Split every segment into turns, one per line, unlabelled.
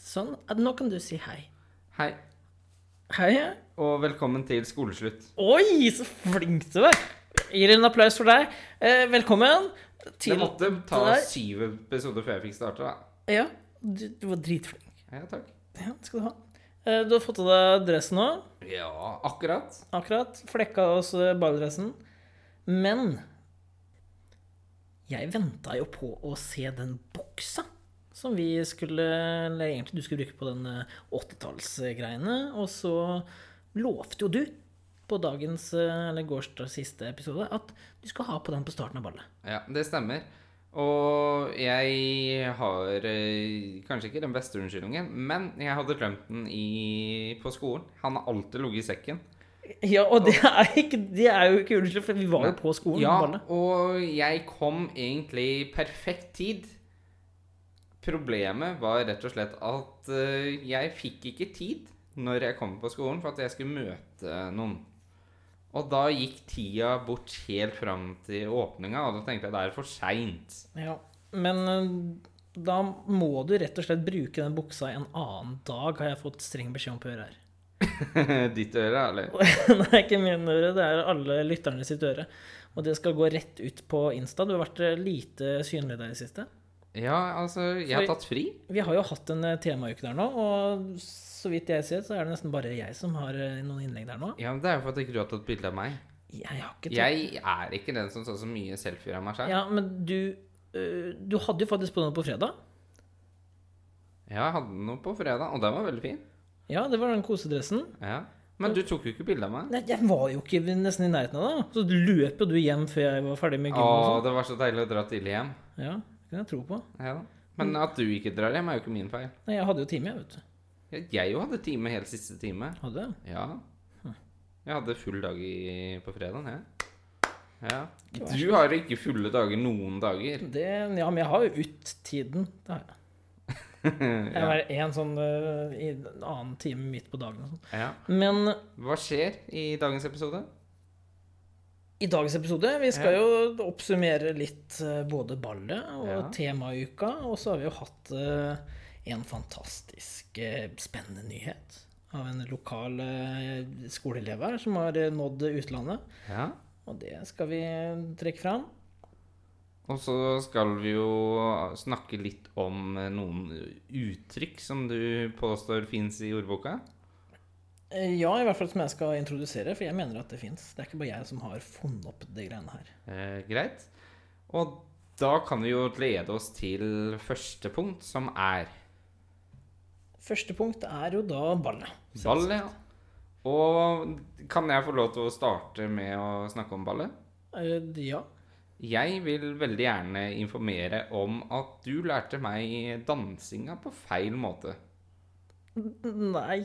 Sånn. at Nå kan du si hei.
Hei,
Hei, ja.
og velkommen til skoleslutt.
Oi, så flink du er! Gir en applaus for deg. Eh, velkommen.
Det
Til
måtte ta
til deg.
syv episoder før jeg fikk starte, da.
Ja, du, du var dritflink.
Ja, takk.
Ja, det skal du ha. Eh, du har fått av deg dressen nå.
Ja, akkurat.
Akkurat. Flekka oss badedressen. Men jeg venta jo på å se den boksa som vi skulle Eller egentlig du skulle bruke på den eh, 80-tallsgreiene. Og så lovte jo du på dagens, eh, eller gårsdags siste episode, at du skal ha på den på starten av ballet.
Ja, det stemmer. Og jeg har eh, kanskje ikke den beste unnskyldningen, men jeg hadde glemt den i, på skolen. Han har alltid ligget i sekken.
Ja, og det er, ikke, det er jo ikke unnskyld, for vi var jo på skolen.
Ja,
ballet.
og jeg kom egentlig i perfekt tid. Problemet var rett og slett at eh, jeg fikk ikke tid når jeg kom på skolen, for at jeg skulle møte noen. Og da gikk tida bort helt fram til åpninga, og da tenkte jeg det er for seint.
Ja, men eh, da må du rett og slett bruke den buksa en annen dag, har jeg fått streng beskjed om på øret her.
Ditt øre, eller?
Nei, ikke min øre, det er alle lytterne sitt øre. Og det skal gå rett ut på Insta. Du har vært eh, lite synlig der i det siste.
Ja, altså, jeg har
Sorry.
tatt fri.
Vi har jo hatt en eh, temauke der nå, og så vidt jeg ser, så er det nesten bare jeg som har eh, noen innlegg der nå.
Ja, men Det er jo for at ikke du har tatt bilde av meg.
Jeg har ikke tatt
Jeg er ikke den som tar så mye selfier av meg sjøl.
Ja, men du eh, Du hadde jo faktisk på den på fredag.
Ja, jeg hadde noe på fredag, og den var veldig fin.
Ja, det var den kosedressen.
Ja. Men du tok jo ikke bilde av meg.
Nei, jeg var jo ikke nesten i nærheten av det. Så løp jo du hjem før jeg var ferdig med
Å,
gymmen. og sånn.
det var så deilig å dra tidlig hjem.
Ja, det kan jeg tro på.
Ja. da. Men
Mm.
at du ikke drar hjem, er jo ikke min feil.
Nei, jeg hadde jo time, jeg, vet du.
Jeg jeg jo hadde time helt siste time.
Hadde jeg.
Ja.
Hm.
Jeg hadde full dag i, på fredagen, jeg. Ja. Du har ikke fulle dager noen dager.
Det, ja, men jeg har jo ut tiden. Det har jeg. Jeg har en sånn øh, i en annen time midt på dagen og sånn.
Ja.
Men
Hva skjer i dagens episode?
i dagens episode Vi skal
Ja.
jo oppsummere litt øh, både ballet og
Ja.
temauka. Og så har vi jo hatt øh, en fantastisk øh, spennende nyhet av en lokal øh, skoleelev her som har øh, nådd utlandet.
Ja.
Og det skal vi eh, trekke fram.
Og så skal vi jo snakke litt om eh, noen uttrykk som du påstår fins i ordboka.
Eh, Ja, i hvert fall som jeg skal introdusere, for jeg mener at det fins. Det er ikke bare jeg som har funnet opp de greiene her.
Eh, greit. Og da kan vi jo lede oss til første punkt, som er
Første punkt er jo da ballet.
ball. Ja. Og kan jeg få lov til å starte med å snakke om ballet?
Eh, Ja.
Jeg vil veldig gjerne informere om at du lærte meg dansinga på feil måte.
Nei.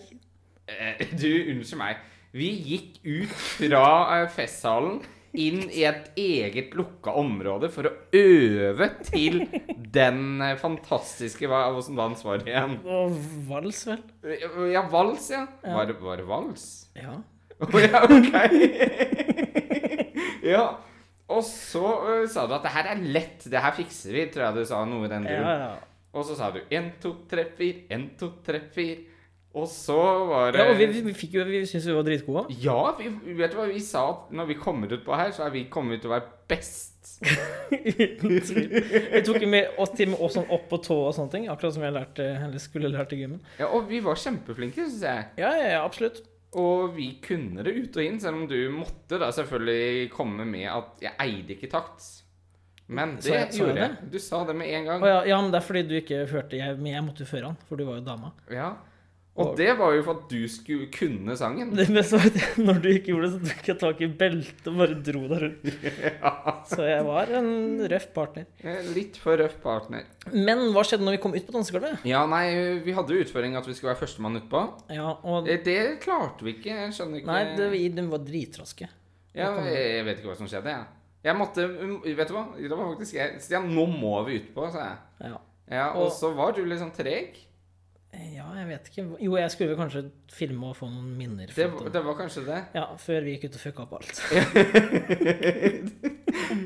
Eh, du, unnskyld meg. Vi gikk ut fra eh, festsalen inn i et eget lukka område for å øve til den eh, fantastiske Hva åssen dans var det igjen?
Og vals, vel?
Ja, vals, ja. Var, det- var det vals?
Ja.
Å ja, ok. ja. Og så ø, sa du at det her er lett, det her fikser vi, tror jeg du sa noe i den
Ja,
duren.
ja.
Og så sa du 1, 2, 3, 4, 1, 2, 3, 4. Og så var det
ja og vi, vi, fikk jo, vi syntes vi var dritgode.
Ja, vi, vet du hva vi sa? at Når vi kommer ut på her, så er vi kommet til å være best.
Uten tvil. Vi tok jo med oss til med oss sånn opp på tå og sånne ting, akkurat som jeg lærte, eller skulle lært i gymmen.
Ja, og vi var kjempeflinke, syns jeg.
Ja, ja, ja, absolutt.
Og vi kunne det ut og inn, selv om du måtte da selvfølgelig komme med at jeg eide ikke takt. Men det
Sa jeg- sa jeg
gjorde jeg. Du sa det med en gang.
Å, ja, ja, men det er fordi du ikke hørte jeg, Men jeg måtte jo føre han, for du var jo dama.
Ja. Og det var jo for at du skulle kunne sangen.
Det beste var at jeg- når du ikke gjorde det, så tok jeg tak i beltet og bare dro deg rundt. Så jeg var en røff partner.
Eh, Litt for røff partner.
Men hva skjedde når vi kom ut på dansegulvet?
Ja, nei, vi hadde jo utføring at vi skulle være førstemann utpå.
Ja, og
Eh, Det klarte vi ikke. Jeg skjønner ikke
Nei, det, de var dritraske.
ja, Jeg vet ikke hva som skjedde, jeg. Jeg måtte um, Vet du hva? Det var faktisk jeg. Stian, nå må vi utpå, sa jeg.
Ja.
Ja, og,
Og-
så var du litt sånn treg.
ja, jeg vet ikke. Jo, jeg skulle vel kanskje filme og få noen minner.
Det,
fra det.
det var kanskje det.
Ja, før vi gikk ut og fucka opp alt.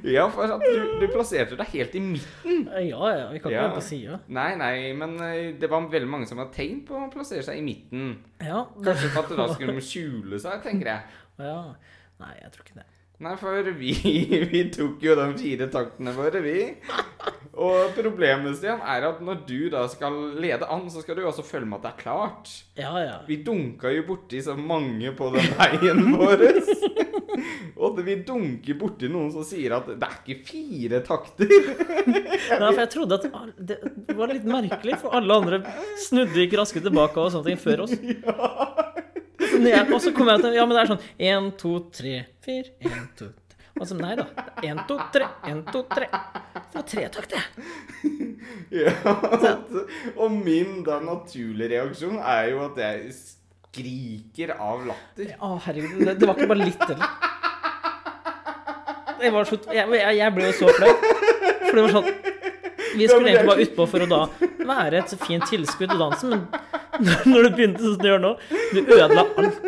Ja, for at du, du plasserte deg helt i midten.
Ja, ja, vi kan ikke
Ja.
være på sida.
Nei, nei, men eh, det var veldig mange som hadde tegn på å plassere seg i midten.
Ja, det,
Kanskje for at da skulle de skjule seg, tenker jeg.
ja. Nei, jeg tror ikke det.
Nei, for vi, vi tok jo de fire taktene våre, vi. Og problemet, Stian, er at når du da skal lede an, så skal du jo også følge med at det er klart.
Ja, ja.
Vi dunka jo borti så mange på den veien vår. Og vi dunker borti noen som sier at det er ikke fire takter.
Nei, for jeg trodde at al- det var litt merkelig, for alle andre snudde gikk raskere tilbake og sånne ting før oss. Så når jeg- Og så kom jeg til Ja, men det er sånn én, to, tre, fire, én, to, tre. Og så nei da. Én, to, tre, én, to, tre. Det var tre takt, det.
Ja, og min da naturlige reaksjon er jo at jeg skriker av latter.
Å, herregud. Det, det var ikke bare litt heller. Jeg, var så, jeg, jeg, jeg ble jo så flau. For det var sånn Vi skulle egentlig bare utpå for å da være et fint tilskudd til dansen, men når du begynte sånn som du gjør nå, du ødela alt.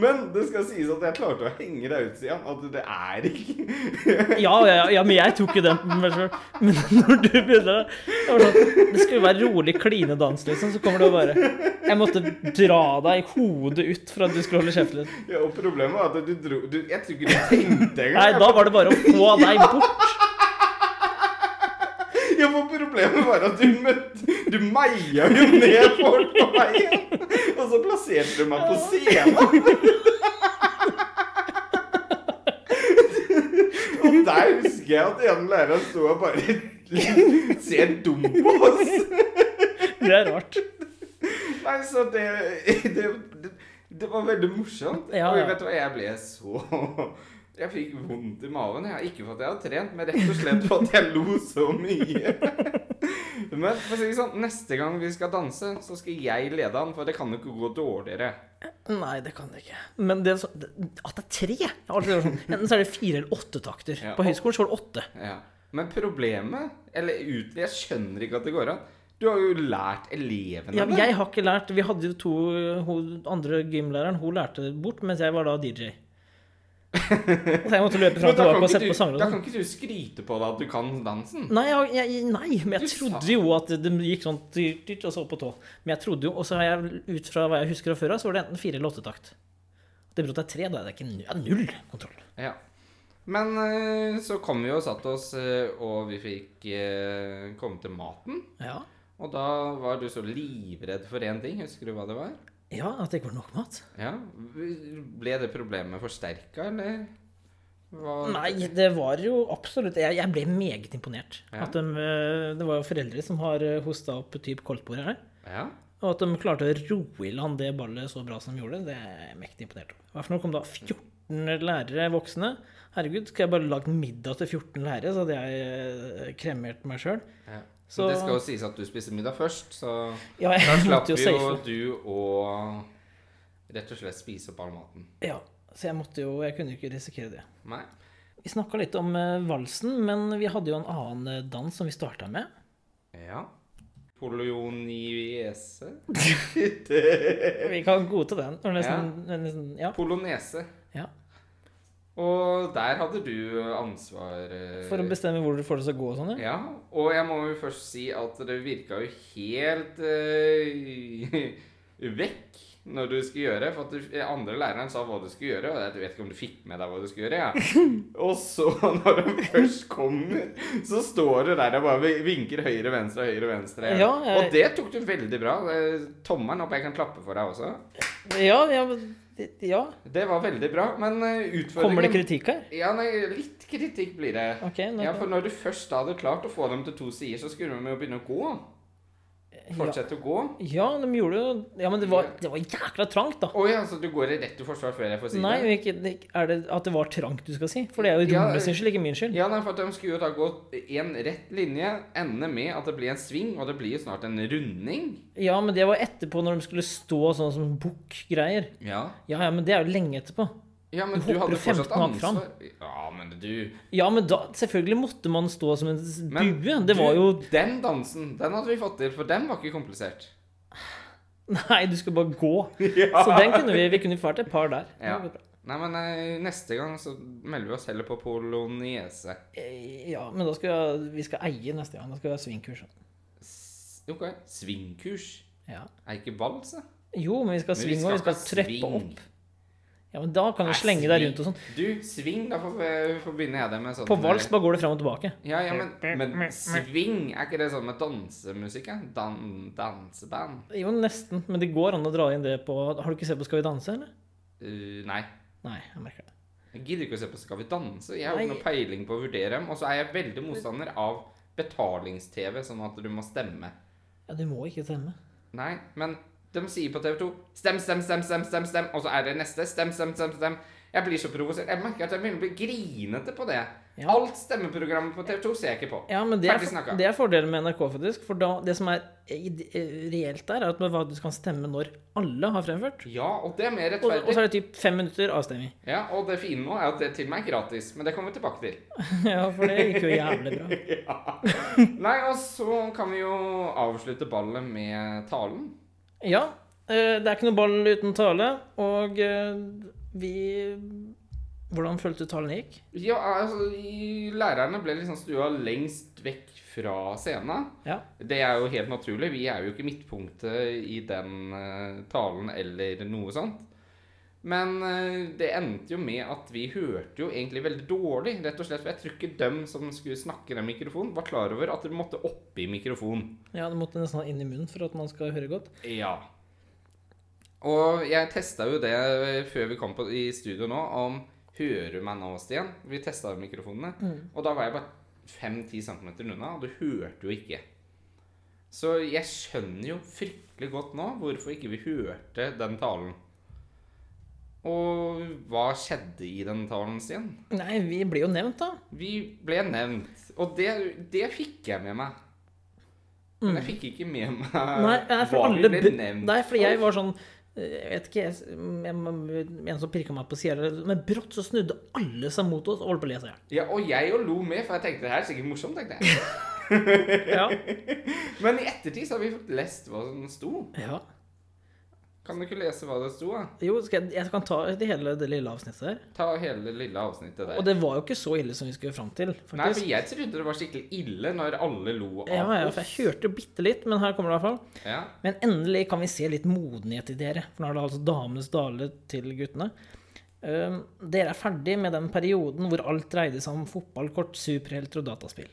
Men det skal sies at jeg klarte å henge deg ut, Stian. At det er ikke
Ja, ja, ja, men jeg tok jo den på meg sjøl. Men når du begynner det, var sånn, det skulle være rolig klinedans, liksom, så kommer det og bare Jeg måtte dra deg i hodet ut for at du skulle holde kjeft litt.
ja, Og problemet var at du dro du, Jeg tror ikke du tenkte
Nei,
engang.
da var det bare å få deg bort.
Ja, for problemet var at du møtte Du meia jo ned folk på veien. Og så plasserte du meg på scenen. Og der husker jeg at en lærer sto og bare ser dum på oss.
Det er rart.
Nei, så det Det, det, det var veldig morsomt.
Ja,
Og
ja.
vet du hva, jeg ble så Jeg fikk vondt i magen. Jeg. Ikke for at jeg hadde trent, men rett og slett for at jeg lo så mye. Men for å si det sånn, neste gang vi skal danse, så skal jeg lede han, for det kan jo ikke gå dårligere.
Nei, det kan det ikke. Men det, er så- det- at det er tre jeg har alltid hørt sånn. Enten så er det fire eller åtte takter.
Ja.
På høyskolen så var det åtte.
Ja. Men problemet Eller ut, jeg skjønner ikke at det går an. Du har jo lært elevene
Ja, men
det.
jeg har ikke lært Vi hadde jo to hun andre gymlæreren, hun lærte det bort, mens jeg var da DJ. Så jeg måtte løpe fram
Men
og
da
tilbake
kan,
og sånn.
ikke
sette på
du,
sangene.
da kan ikke du skryte på deg at du kan dansen.
Nei, jeg, jeg, nei, men jeg
Du sa-
trodde jo at det gikk sånn dyrt, dyrt, og så opp på tå. Men jeg trodde jo, og så har jeg ut fra hva jeg husker fra før av, så var det enten fire eller åtte takt. Det betyr at det er tre, da er det ikke nu- ja, null kontroll.
Ja. Men eh, så kom vi og satt oss, eh, og vi fikk eh, komme til maten.
Ja.
Og da var du så livredd for én ting. Husker du hva det var?
ja, at det ikke var nok mat.
Ja. Ble det problemet forsterka, eller? Hva?
Nei, det var jo absolutt Jeg, jeg ble meget imponert.
Ja.
At de, eh, det var jo foreldre som har hosta opp typ koldtbord her.
Ja.
Og at de klarte å roe i land det ballet så bra som de gjorde, det er jeg mektig imponert over. Hva for noe kom da 14 lærere voksne? Herregud, skulle jeg bare lagd middag til 14 lærere, så hadde jeg eh, kremert meg sjøl.
ja. Så
Så-
det skal jo sies at du spiste middag først, så
Ja,
da
jeg
slapp
måtte jo
jo
safe.
du å rett og slett spise opp all maten.
Ja, så jeg måtte jo Jeg kunne jo ikke risikere det.
Nei.
Vi snakka litt om eh, valsen, men vi hadde jo en annen eh, dans som vi starta med.
Ja. Poloniese?
Vi kan godta den. Det var Nesten, nesten, ja.
Polonese.
ja.
Og der hadde du ansvar eh,
For å bestemme hvor du får det til å gå og sånn, ja.
Ja, og jeg må jo først si at det virka jo helt eh, vekk når du skulle gjøre, for at du, eh, andre læreren sa hva du skulle gjøre, og jeg vet ikke om du fikk med deg hva du skulle gjøre, ja. Og så, når du først kommer, så står du der og bare vinker høyre, venstre, høyre, venstre.
Ja, jeg-
Og det tok du veldig bra. Eh, Tommelen opp, jeg kan klappe for deg også.
Ja, ja, men- ja.
Det var veldig bra, men eh, utfordringen
Kommer det kritikk her?
Ja, nei, litt kritikk blir det.
Ok, nå,
Ja, for når du først hadde klart å få dem til to sider, så skulle de jo begynne å gå. Fortsette å gå.
ja, de gjorde jo Ja, men det var, det var jækla trangt, da.
Å ja, så du går i rett til forsvar før jeg får si
Nei,
det?
ikke, det- er det at det var trangt du skal si? For det er jo
Ja,
rommet sin skyld, ikke min skyld.
Ja, nei, for at de skulle jo da gå en rett linje, ende med at det blir en sving, og det blir jo snart en runding.
Ja, men det var etterpå, når de skulle stå sånn som bukk-greier.
Ja.
Ja, ja, men det er jo lenge etterpå.
Ja, men
Du
du
hopper
hadde fortsatt
15 hakk fram.
ansvar. Ja, men du
Ja, men da, selvfølgelig måtte man stå som en s-
Men
bue. Det
du,
var jo
Den dansen, den hadde vi fått til, for den var ikke komplisert.
Nei, du skal bare gå. Så den kunne vi Vi kunne fart et par der. Det
Ja.
var bra.
Nei, men eh, neste gang så melder vi oss heller på poloniese.
Eh, ja men da skal jeg, vi skal eie neste gang. Da skal vi ha svingkurs.
S- Ok, svingkurs.
Ja.
Er ikke vals, da?
Jo, men vi skal
Men
svinge, og vi skal treppe
sving.
opp. Ja, men da kan du
Nei,
slenge deg
sving.
rundt og sånn.
Du, sving, da får vi- forbinder jeg det med sånn
På vals bare går det fram og tilbake.
Ja, ja, men, men sving, er ikke det sånn med dansemusikk? ja? Dan, danseband?
Jo, nesten. Men det går an å dra inn det på Har du ikke sett på Skal vi danse, eller?
Uh, nei.
Nei, jeg merker det.
Jeg gidder ikke å se på Skal vi danse. Jeg har
Nei.
ikke noe peiling på å vurdere dem. Og så er jeg veldig motstander av betalings-TV, sånn at du må stemme.
Ja, du må ikke stemme.
Nei, men de sier på TV 2 Stem, stem, stem, stem, stem, stem. Og så er det neste. Stem, stem, stem, stem. Jeg blir så provosert. Jeg merker at jeg begynner å bli grinete på det.
Ja.
Alt stemmeprogrammet på TV 2 ser jeg ikke på.
Ja, men det er,
Ferdig snakka.
det er fordelen med NRK, faktisk. For da, det som er ide- reelt der, er at man faktisk kan stemme når alle har fremført.
Ja, og det er mer
Og, og så
rettferdig.
er det typ fem minutter avstemning.
Ja, og det fine nå er at det til og med er gratis. Men det kommer vi tilbake til.
Ja, for det gikk jo jævlig bra.
Nei, og så kan vi jo avslutte ballet med talen.
Ja, eh, det er ikke noe ball uten tale, og eh, vi Hvordan følte du talen gikk?
Ja, altså, i- lærerne ble liksom stua lengst vekk fra scenen.
Ja.
Det er jo helt naturlig. Vi er jo ikke midtpunktet i den eh, talen eller noe sånt. Men eh, det endte jo med at vi hørte jo egentlig veldig dårlig, rett og slett. For jeg tror ikke dem som skulle snakke i den mikrofonen, var klar over at de måtte opp i mikrofonen.
ja, du måtte nesten ha inn i munnen for at man skal høre godt.
Ja. Og jeg testa jo det før vi kom på, i studio nå, om Hører du meg nå, Stian? Vi testa mikrofonene.
Mm.
Og da var jeg bare 5-10 cm unna, og du hørte jo ikke. Så jeg skjønner jo fryktelig godt nå hvorfor ikke vi hørte den talen. Og hva skjedde i den talen, Stian?
Nei, vi ble jo nevnt, da.
Vi ble nevnt. Og det, det fikk jeg med meg. Men jeg fikk ikke med meg
Mm. Nei, nei, for
hva
alle
Eh, vi ble
bu-
nevnt
Nei, fordi
for.
jeg var sånn eh, jeg vet ikke, jeg, jeg, En som pirka meg på sida, men brått så snudde alle seg mot oss og holdt på å le seg i hjel.
Ja, og jeg jo lo med, for jeg tenkte det her er sikkert morsomt. tenkte jeg.
Ja.
Men i ettertid så har vi fått lest hva som sto.
Ja.
Kan du ikke lese hva det sto? da?
Jo, skal jeg, jeg kan ta det hele det lille avsnittet der.
Ta hele det lille avsnittet der.
Og det var jo ikke så ille som vi skulle fram til,
Nei, for
faktisk.
jeg trodde det var skikkelig ille når alle lo av
Ja, ja, for
oss.
jeg hørte jo bitte litt, men her kommer det i hvert fall.
Ja.
Men endelig kan vi se litt modenhet i dere. For nå er det altså damenes dale til guttene. Um, dere er ferdig med den perioden hvor alt dreide seg om fotballkort, superhelter og dataspill.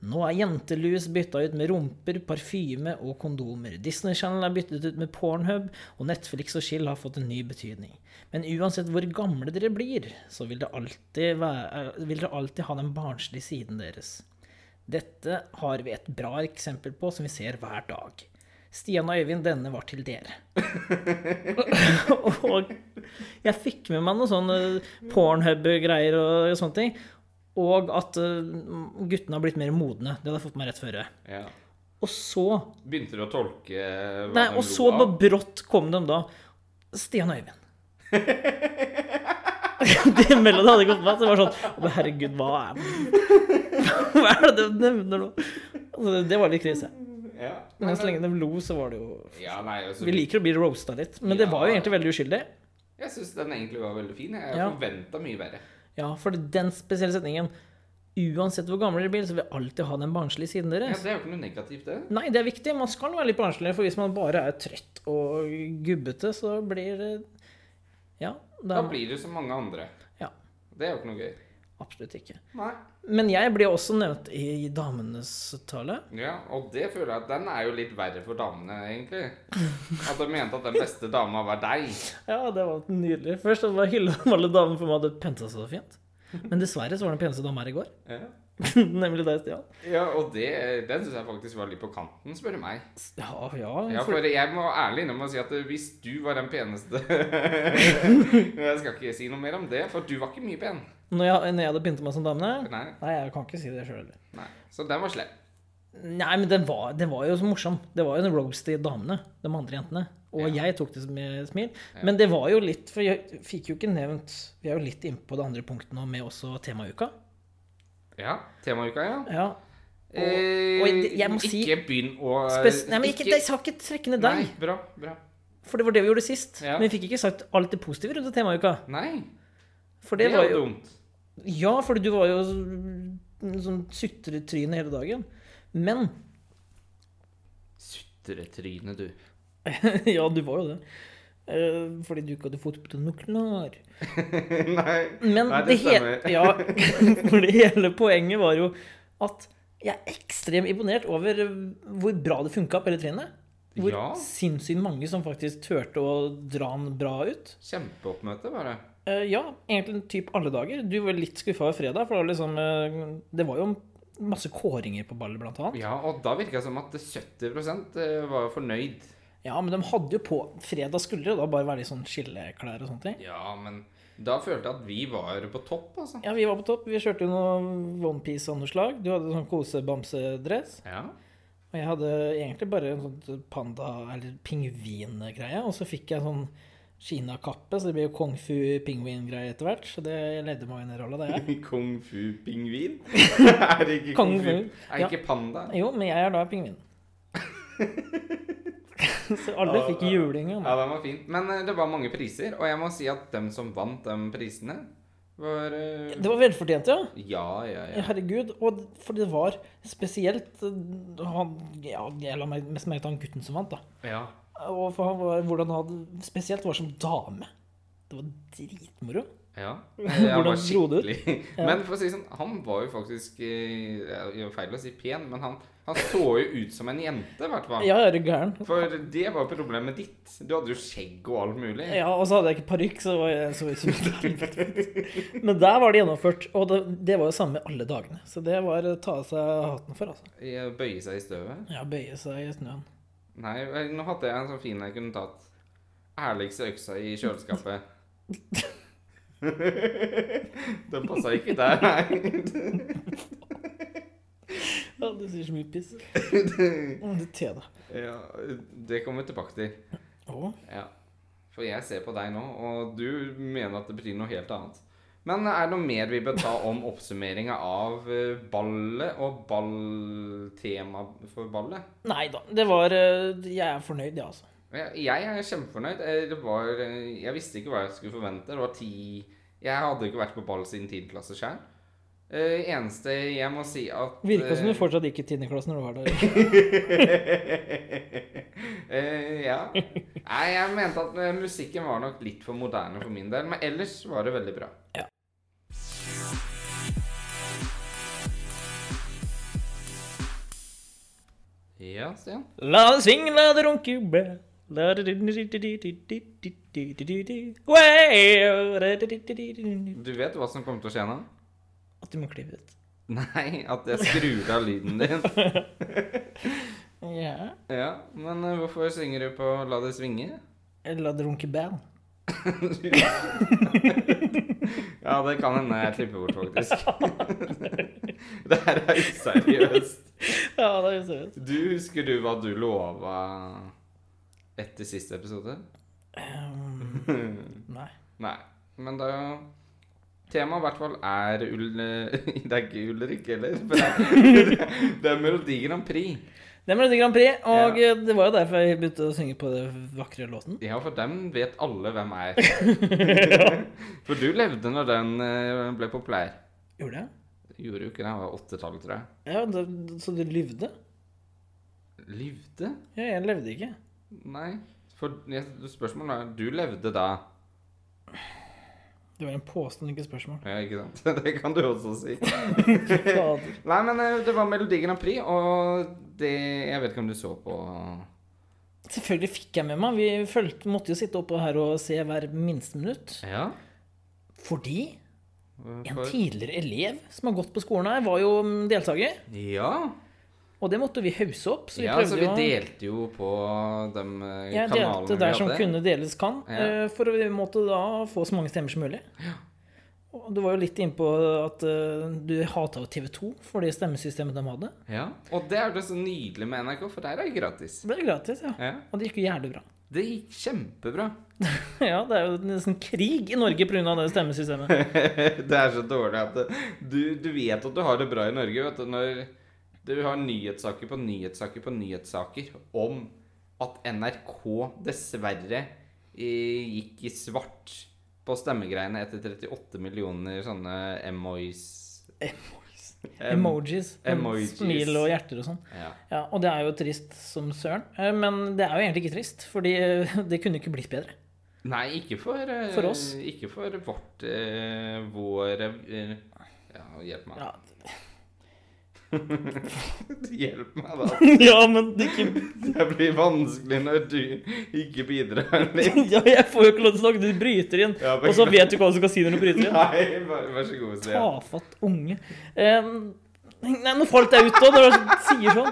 Nå er jentelus bytta ut med rumper, parfyme og kondomer. Disney Channel er byttet ut med Pornhub, og Netflix og Chill har fått en ny betydning. Men uansett hvor gamle dere blir, så vil dere alltid, være, vil dere alltid ha den barnslige siden deres. Dette har vi et bra eksempel på som vi ser hver dag. Stian og Øyvind, denne var til dere. og jeg fikk med meg noen sånne pornhub-greier og sånne ting. Og at eh, guttene har blitt mer modne. Det hadde jeg fått meg rett før.
ja.
Og så
Begynte du å tolke eh, hva
Nei,
de
og
lo
så
av?
bare brått kom de da. Stian og Øyvind. det mellom det hadde gått meg, så det var sånn Å, men herregud, hva er Hva er det de nevner nå? Altså, det var litt krise.
ja.
Men så lenge de lo, så var det jo
ja, nei, altså,
Vi liker å bli roasta litt. Men det var jo egentlig veldig uskyldig.
Jeg syns den egentlig var veldig fin. Jeg
Ja.
forventa mye verre.
Ja, for den spesielle setningen Uansett hvor gamle dere blir, så vil jeg alltid ha den barnslige siden
Ja,
deres.
det er jo ikke noe negativt, det.
Nei, det er viktig. Man skal være litt barnslig, for hvis man bare er trøtt og gubbete, så blir det Ja. Det
Da
er,
blir du som mange andre.
ja
Det er jo ikke noe gøy.
absolutt ikke.
Nei.
Men jeg ble også nevnt i damenes tale.
Ja, og det føler jeg at den er jo litt verre for damene, egentlig. At de mente at den beste dama var deg.
Ja, det var nydelig. Først var hylla om alle damene for meg hadde penta seg så fint. Men dessverre så var det en peneste dame her i går.
Ja,
Nemlig deg, Stian.
ja og det, den syns jeg faktisk var litt på kanten, spør du meg.
Ja, ja.
Ja,
for-
for jeg må ærlig innrømme å si at hvis du var den peneste Jeg skal ikke si noe mer om det, for du var ikke mye pen.
Når jeg, når jeg hadde pynta meg som dame
Nei,
Nei, jeg kan ikke si det sjøl heller.
nei. Så den var slem.
Nei, men den var, den var jo så morsom. Det var jo en roast til damene, de andre jentene. Og jeg tok det med smil. Men det var jo litt For jeg fikk jo ikke nevnt Vi er jo litt inne på det andre punktet nå med også temauka.
Ja, temauka, ja.
Ja.
Eh,
og jeg- jeg må
ikke
si-
begynn å
Spes nei, men ikke, jeg skal ikke trekke ned deg,
Eh, Nei, bra, bra.
for det var det vi gjorde sist.
Ja.
Men vi fikk ikke sagt alt det positive rundt temauka.
Nei,
For
det,
det
var
var jo
dumt.
Ja, fordi du var jo en sånn sutretryne hele dagen. Men
Sutretryne, du.
Ja, du var jo det. Eh, Fordi du ikke hadde fått på deg noe klar.
Nei,
Men
Nei,
det,
det
he-
stemmer.
ja, for det hele poenget var jo at jeg er ekstremt imponert over eh, hvor bra det funka på hele trinnet. Hvor
Ja.
sinnssykt mange som faktisk turte å dra den bra ut.
Kjempeoppmøte, bare.
Eh, ja, egentlig typ alle dager. Du var litt skuffa over fredag, for det var, liksom, eh, det var jo masse kåringer på ballet, blant annet.
Ja, og da virka det som at 70 var fornøyd.
Ja, men de hadde jo på Fredag skulle det da bare være litt sånn skilleklær og sånne ting.
Ja, men da følte jeg at vi var på topp, altså.
Ja, vi var på topp. Vi kjørte jo noe onepiece av noe slag. Du hadde sånn kosebamsedress.
Ja.
Og jeg hadde egentlig bare en sånn panda- eller pingvingreie, og så fikk jeg sånn Kina-kappe, så det ble jo kung fu-pingvin-greie etter hvert. Så det jeg ledde meg inn i rolla, det er jeg.
Kung fu-pingvin? er det ikke
Kung
kung fu?
fu,
Er
ja.
ikke panda?
Jo, men jeg er da pingvin. så alle fikk juling av
Ja,
meg.
den var fin. Men eh, det var mange priser, og jeg må si at dem som vant de prisene, var eh,
Det var velfortjent, ja.
Ja, ja, ja.
Herregud. Og for det var spesielt eh, han, ja, Jeg la meg mest merke til han gutten som vant, da.
ja.
Og for han var, hvordan han hadde Spesielt var som dame. Det var dritmoro.
Ja.
Hvordan dro det ut?
Men for å si det sånn, han var jo faktisk eh, Det er feil å si pen, men han, han så jo ut som en jente, i hvert fall.
Ja, er du gæren?
For det var problemet ditt. Du hadde jo skjegg og alt mulig.
Ja, og så hadde jeg ikke parykk, så var jeg så ut som et helvete. Men der var det gjennomført, og det, det var jo samme alle dagene. Så det var å ta av seg hatten for, altså.
Jeg Bøye seg i støvet.
Ja, bøye seg i snøen.
Nei, vel, nå hadde jeg en sånn fin jeg kunne tatt. Ærligste øksa i kjøleskapet. Den passa ikke der, nei.
Ja, du sier så mye piss. Du te deg.
Ja, det kommer vi tilbake til.
Å,
Ja. For jeg ser på deg nå, og du mener at det betyr noe helt annet. Men er det noe mer vi bør ta om oppsummeringa av eh, ballet og balltema for ballet?
Nei da, det var eh, Jeg er fornøyd, jeg, ja, altså.
Jeg jeg er kjempefornøyd. Eh, Det var, eh, jeg visste ikke hva jeg skulle forvente. Det var ti Jeg hadde ikke vært på ball siden 10. klasse sjøl. Eneste jeg må si at
Virka som du
eh,
fortsatt gikk i tiendeklasse når du var der.
eh, Ja. Nei, jeg mente at eh, musikken var nok litt for moderne for min del, men ellers var det veldig bra.
Ja.
Ja, Stian.
La det svinge, la det runke bæ. La det du-du-du-du-du-du-du-du-du-du-du. Wow, da-du-du-du-du-du-du.
Du vet hva som kommer til å skje nå?
At du må klippe ut.
Nei, at jeg skrur av lyden din.
Ja.
Ja, men eh, hvorfor synger du på La det svinge?
La det runke bæ.
Ja, det kan hende jeg klipper bort, faktisk. det her er useriøst.
Ja, det er jo seriøst.
Du, husker du hva du lova etter siste episode?
Ehm, nei.
Nei. Men da Temaet i hvert fall er Ull... Det er ikke Ulrik heller. for Det er, det er Melodi Grand Prix.
Det ble Grand Prix, og det var jo derfor jeg begynte å synge på den vakre låten.
Ja, for dem vet alle hvem er. For du levde når den eh, ble populær.
Gjorde jeg?
Gjorde jo ikke det, det var åttetallet, tror jeg.
Ja, det, Så du lyvde?
Levde?
Ja, jeg levde ikke.
Nei. For jeg- spørsmålet er Du levde da?
Det var en påstand, ikke et spørsmål.
Ja, ikke sant? Det kan du også si.
Fader.
Nei, men eh, det var Melodi Grand Prix, og det Jeg vet ikke om du så på
Selvfølgelig fikk jeg med meg. Vi følte, måtte jo sitte oppå her og se hver minste minutt.
Ja?
Fordi en
For,
tidligere elev som har gått på skolen her, var jo mm, deltaker.
ja.
Og det måtte vi hause opp. Så vi
ja
prøvde
så vi
jo å-
delte jo på de eh,
Jeg
kanalene
delte der som
vi hadde.
kunne deles kan,
Ja.
eh, for å måtte da få så mange stemmer som mulig. Og Du var jo litt innpå at eh, du hata jo TV 2 for det stemmesystemet de hadde.
Ja. Og det er det så nydelig med NRK, for der er det gratis.
Så ble det gratis, ja.
Ja.
Og det gikk jo jævlig bra.
Det gikk kjempebra.
ja, det er jo nesten krig i Norge pga. det stemmesystemet.
det er så dårlig at det, du, du vet at du har det bra i Norge vet du, når du har nyhetssaker på nyhetssaker på nyhetssaker om at NRK dessverre eh, gikk i svart på stemmegreiene etter 38 millioner sånne emojis. Em-
Emojis. med
emojis.
Smil og hjerter og sånn.
Ja.
Ja, Og det er jo trist som søren. Eh, Men det er jo egentlig ikke trist, fordi eh, det kunne ikke blitt bedre.
Nei, ikke for, eh,
For oss.
Ikke for vårt eh, Vår eh, Ja, hjelp meg.
Ja,
Hjelp meg, da.
ja men det ikke
Det blir vanskelig når du ikke bidrar litt.
Ja, jeg får jo ikke lov til å snakke, du bryter inn.
Ja,
Og så vet du ikke hva du skal si når du bryter inn.
Nei, vær, vær så god, Stian.
Tafatt unge. Eh, nei, nå falt jeg ut òg, når du sier sånn.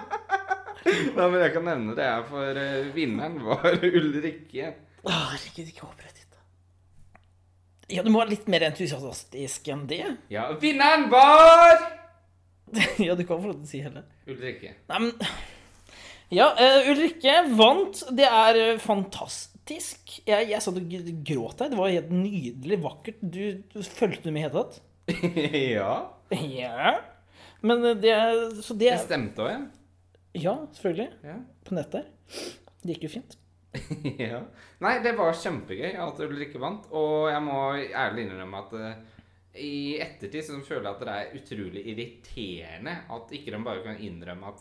Nei, men jeg kan nevne det her, for eh, vinneren var Ulrikke.
Å, Herregud, ikke opprett hit. Ja, du må være litt mer entusiastisk enn det.
Ja, vinneren var
ja, du kan få lov til å si heller.
Ulrikke.
Nei, men Ja, eh, Ulrikke vant. Det er eh, fantastisk. Jeg, jeg satt og gr- gråt her. Det var helt nydelig vakkert. Du, du fulgte med i det hele tatt?
ja.
Ja. Men eh, det er- Så det
Det
er
stemte òg,
Ja, selvfølgelig.
ja.
På nettet. Det gikk jo fint.
ja. Nei, det var kjempegøy at Ulrikke vant, og jeg må ærlig innrømme at eh, i ettertid så føler jeg at det er utrolig irriterende at ikke de bare kan innrømme at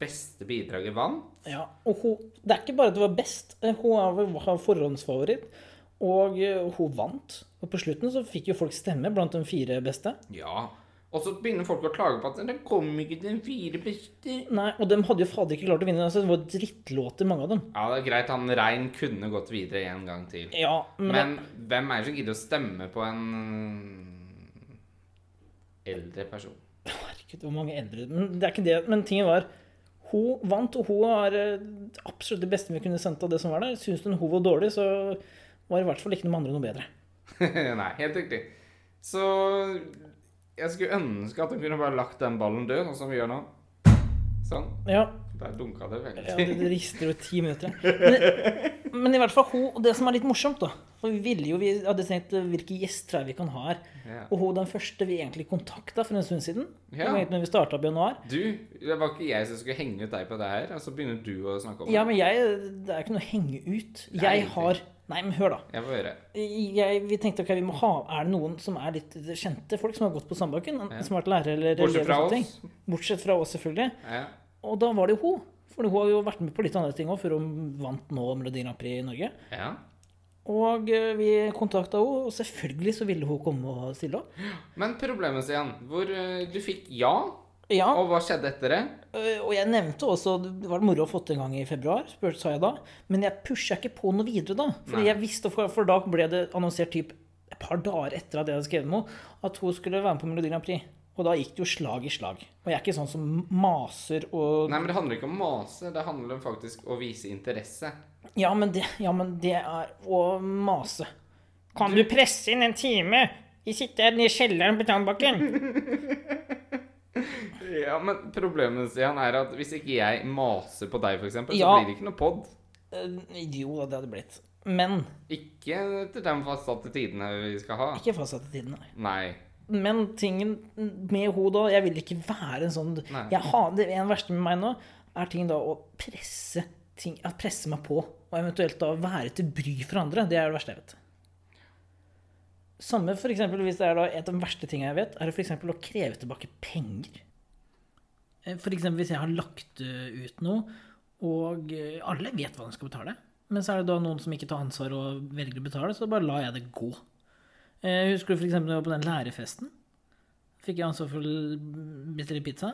beste bidraget vant.
Ja, og hun, Det er ikke bare at hun var best. eh, Hun er vel- var forhåndsfavoritt. Og eh, hun vant. Og på slutten så fikk jo folk stemme blant de fire beste.
Ja. Og så begynner folk å klage på at den kom ikke til den fire beste.
Nei, Og de hadde jo fader ikke klart å vinne. Altså, det var drittlåter, mange av dem.
Ja, det er greit. Han Rein kunne gått videre en gang til.
Ja, men,
Men hvem er det som gidder å stemme på en eldre person?
Herregud, hvor mange eldre Men det er ikke det. Men tingen var Hun vant, og hun er eh, absolutt det beste vi kunne sendt av det som var der. Syns hun hun var dårlig, så var i hvert fall ikke de andre noe bedre.
Nei, helt riktig. Så jeg skulle ønske at hun kunne bare lagt den ballen død, sånn som vi gjør nå. Sånn.
Ja,
Der dunka det
ja
veldig.
det, det rister jo ti minutter. ja. Men, men i hvert fall hun, og det som er litt morsomt, da For vi ville jo, vi hadde tenkt eh, hvilke gjester er det vi kan ha her.
Ja.
Og hun den første vi egentlig kontakta for en stund siden, det
Ja.
var egentlig når vi starta i januar
Du, det var ikke jeg som skulle henge ut deg på det her, og så begynner du å snakke om det.
Ja, men jeg Det er ikke noe å henge ut.
Nei,
Jeg har Nei, men hør, da.
Jeg får høre.
jeg, vi tenkte ok, vi må ha Er det noen som er litt kjente folk som har gått på Sandbakken? Som har vært lærer eller
Bortsett
elever
fra
og sånne
oss.
ting? Bortsett fra oss, selvfølgelig.
Ja.
Og da var det jo hun. For hun har jo vært med på litt andre ting òg, før hun vant nå Melodi Grand Prix i Norge.
ja.
Og eh, vi kontakta henne, og selvfølgelig så ville hun komme og stille opp.
Men problemet, Stian, hvor eh, du fikk ja,
Ja,
og hva skjedde etter det?
eh, og jeg nevnte også Det var moro å få til en gang i februar, spør, sa jeg da. Men jeg pusha ikke på noe videre da.
Nei.
Fordi jeg visste, for, for da ble det annonsert typ et par dager etter at jeg hadde skrevet med henne, at hun skulle være med på Melodi Grand Prix. Og da gikk det jo slag i slag. Og jeg er ikke sånn som maser og
Nei, men det handler ikke om mase, det handler om faktisk å vise interesse.
Ja, men det, ja, men det er å mase. Kan du presse inn en time? Vi sitter nede i kjelleren på Tandbakken.
Ja, men problemet, Stian, er at hvis ikke jeg maser på deg, for eksempel,
Ja.
så blir det ikke noe pod.
Eh, jo da, det hadde blitt. Men
Ikke til de fastsatte tidene vi skal ha.
ikke fastsatte tiden, nei.
Nei.
Men tingen med henne da Jeg vil ikke være en sånn
Nei.
jeg har, Det en verste med meg nå er ting da å presse, ting, at presse meg på. Og eventuelt da være til bry for andre. Det er det verste jeg vet. Samme for eksempel hvis det er da et av de verste tingene jeg vet, er det for eksempel å kreve tilbake penger. Eh, For eksempel hvis jeg har lagt eh, ut noe, og eh, alle vet hva de skal betale, men så er det da noen som ikke tar ansvar og velger å betale, så bare lar jeg det gå. Eh, Husker du f.eks. da jeg var på den lærefesten? Fikk jeg ansvar for l- bitte litt pizza?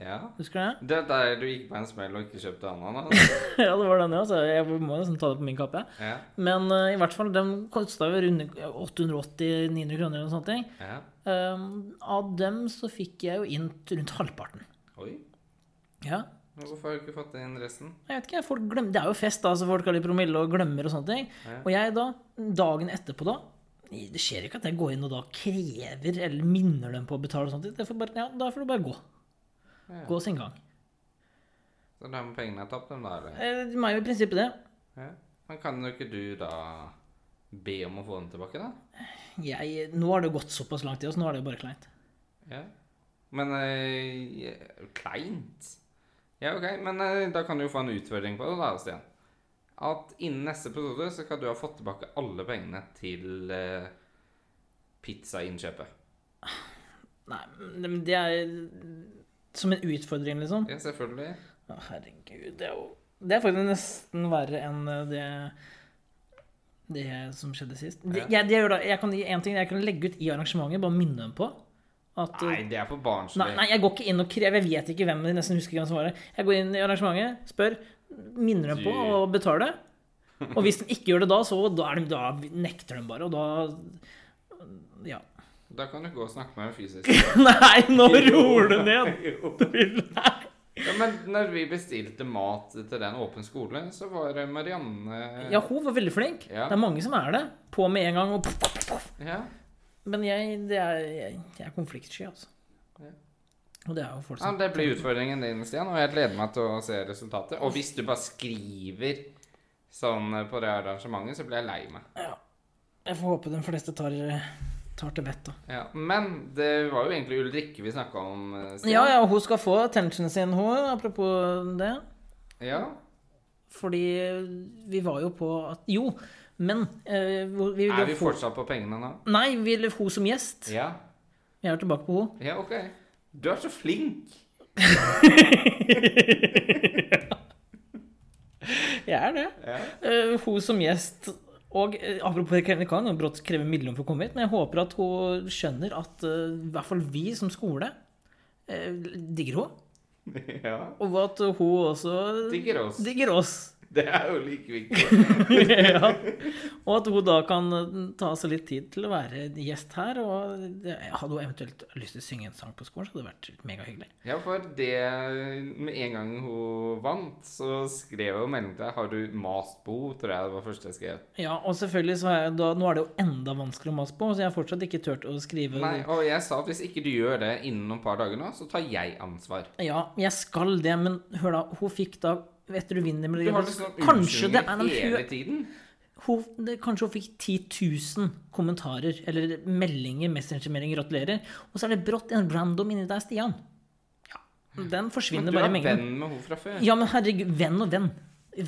Ja.
Husker du det?
Det er der du gikk på en smell og ikke kjøpte ananas.
ja, det var den, ja. Så jeg må nesten ta det på min kappe. jeg.
Ja.
Men eh, i hvert fall, den kosta jo runde 880-900 kroner eller noe sånt. ting.
ja.
Um, av dem så fikk jeg jo inn rundt halvparten.
Oi.
Ja.
men Hvorfor har du ikke fått inn resten?
Jeg vet ikke, folk glemmer, Det er jo fest, da, så folk har litt promille og glemmer og sånne ting. Og jeg da, dagen etterpå da, Det skjer ikke at jeg går inn og da krever eller minner dem på å betale. og sånt. Det får bare, ja, da får du bare gå.
Ja.
Gå sin gang.
Så de pengene er tapt, dem da, eller?
Eh, De er jo i prinsippet det.
Ja. Men kan jo ikke du da be om å få dem tilbake, da?
Jeg, nå har det gått såpass lang tid, så nå er det jo bare kleint.
Ja. Men eh, je- Kleint? Ja, ok. Men eh, da kan du jo få en utfordring på det, da, Stian. At innen neste episode så kan du ha fått tilbake alle pengene til eh, pizzainnkjøpet.
Nei, men det er som en utfordring, liksom.
Ja, selvfølgelig.
Å, herregud, det er jo Det er faktisk nesten verre enn eh, det det som skjedde sist. Det, jeg, det gjør da, jeg kan gi en ting jeg kan legge ut i arrangementet, bare minne dem på at eh,
Nei, det er for barnslig.
Nei, nei, jeg går ikke inn og krever Jeg vet ikke hvem jeg nesten husker hvem som var det. Jeg går inn i arrangementet, spør, minner dem på
Du-
å betale. Og hvis de ikke gjør det da, så da, er de, da nekter de bare, og da Ja.
Da kan du gå og snakke med dem fysisk.
Nei, nå roer du ned!
Jo.
Du vil- Nei.
Ja, men når vi bestilte mat til den åpen skole, så var det Marianne
Ja, hun var veldig flink.
Ja.
Det er mange som er det. På med en gang og poff, poff, poff.
Ja.
Men jeg, det er, jeg, jeg er konfliktsky, altså.
Ja.
Og det er jo folk
Ja,
som
det blir utfordringen din, Stian, og jeg gleder meg til å se resultatet. Og hvis du bare skriver sånn på det arrangementet, så blir jeg lei meg.
ja. Jeg får håpe de fleste tar, tar til vettet.
Ja, men det var jo egentlig Ulrikke vi snakka om, eh, Stian.
Ja, ja, hun skal få attentionen sin, hun, apropos det.
ja.
Fordi eh, vi var jo på at Jo, men eh, hvor- vi ville
Er vi
få-
fortsatt på pengene nå?
Nei, vi ville hun som gjest.
Ja.
Jeg er tilbake på hun.
Ja, OK. Du er så flink.
Jeg er det.
Ja.
Eh, hun som gjest Og eh, apropos det kan jo brått kreve midler for å komme hit, men jeg håper at hun skjønner at eh, i hvert fall vi som skole eh, digger hun
ja.
Og at hun også
Digger oss.
digger oss.
Det er jo like viktig.
ja. Og at hun da kan eh, ta seg litt tid til å være gjest her. Og det, hadde hun eventuelt lyst til å synge en sang på skolen, så hadde det vært megahyggelig.
Ja, for det Med en gang hun vant, så skrev hun melding til deg. Har du mast på henne? Tror jeg det var første jeg skrev.
Ja, og selvfølgelig så er jeg da, Nå er det jo enda vanskeligere å mase på, så jeg har fortsatt ikke turt å skrive
Nei, og jeg sa at hvis ikke du gjør det innen noen par dager nå, så tar jeg ansvar.
Ja, jeg skal det, men hør da, hun fikk da etter du vinner med
Du har liksom
Kanskje det er
unnskyldninger hele
hun,
tiden.
hun, det, Kanskje hun fikk 10 000 kommentarer eller meldinger, messengermeldinger, gratulerer. Og så er det brått en random inni deg, Stian. Ja, Den
Men
forsvinner
du
bare i
er
mengden.
venn med henne fra før.
Ja, men herregud, venn og venn.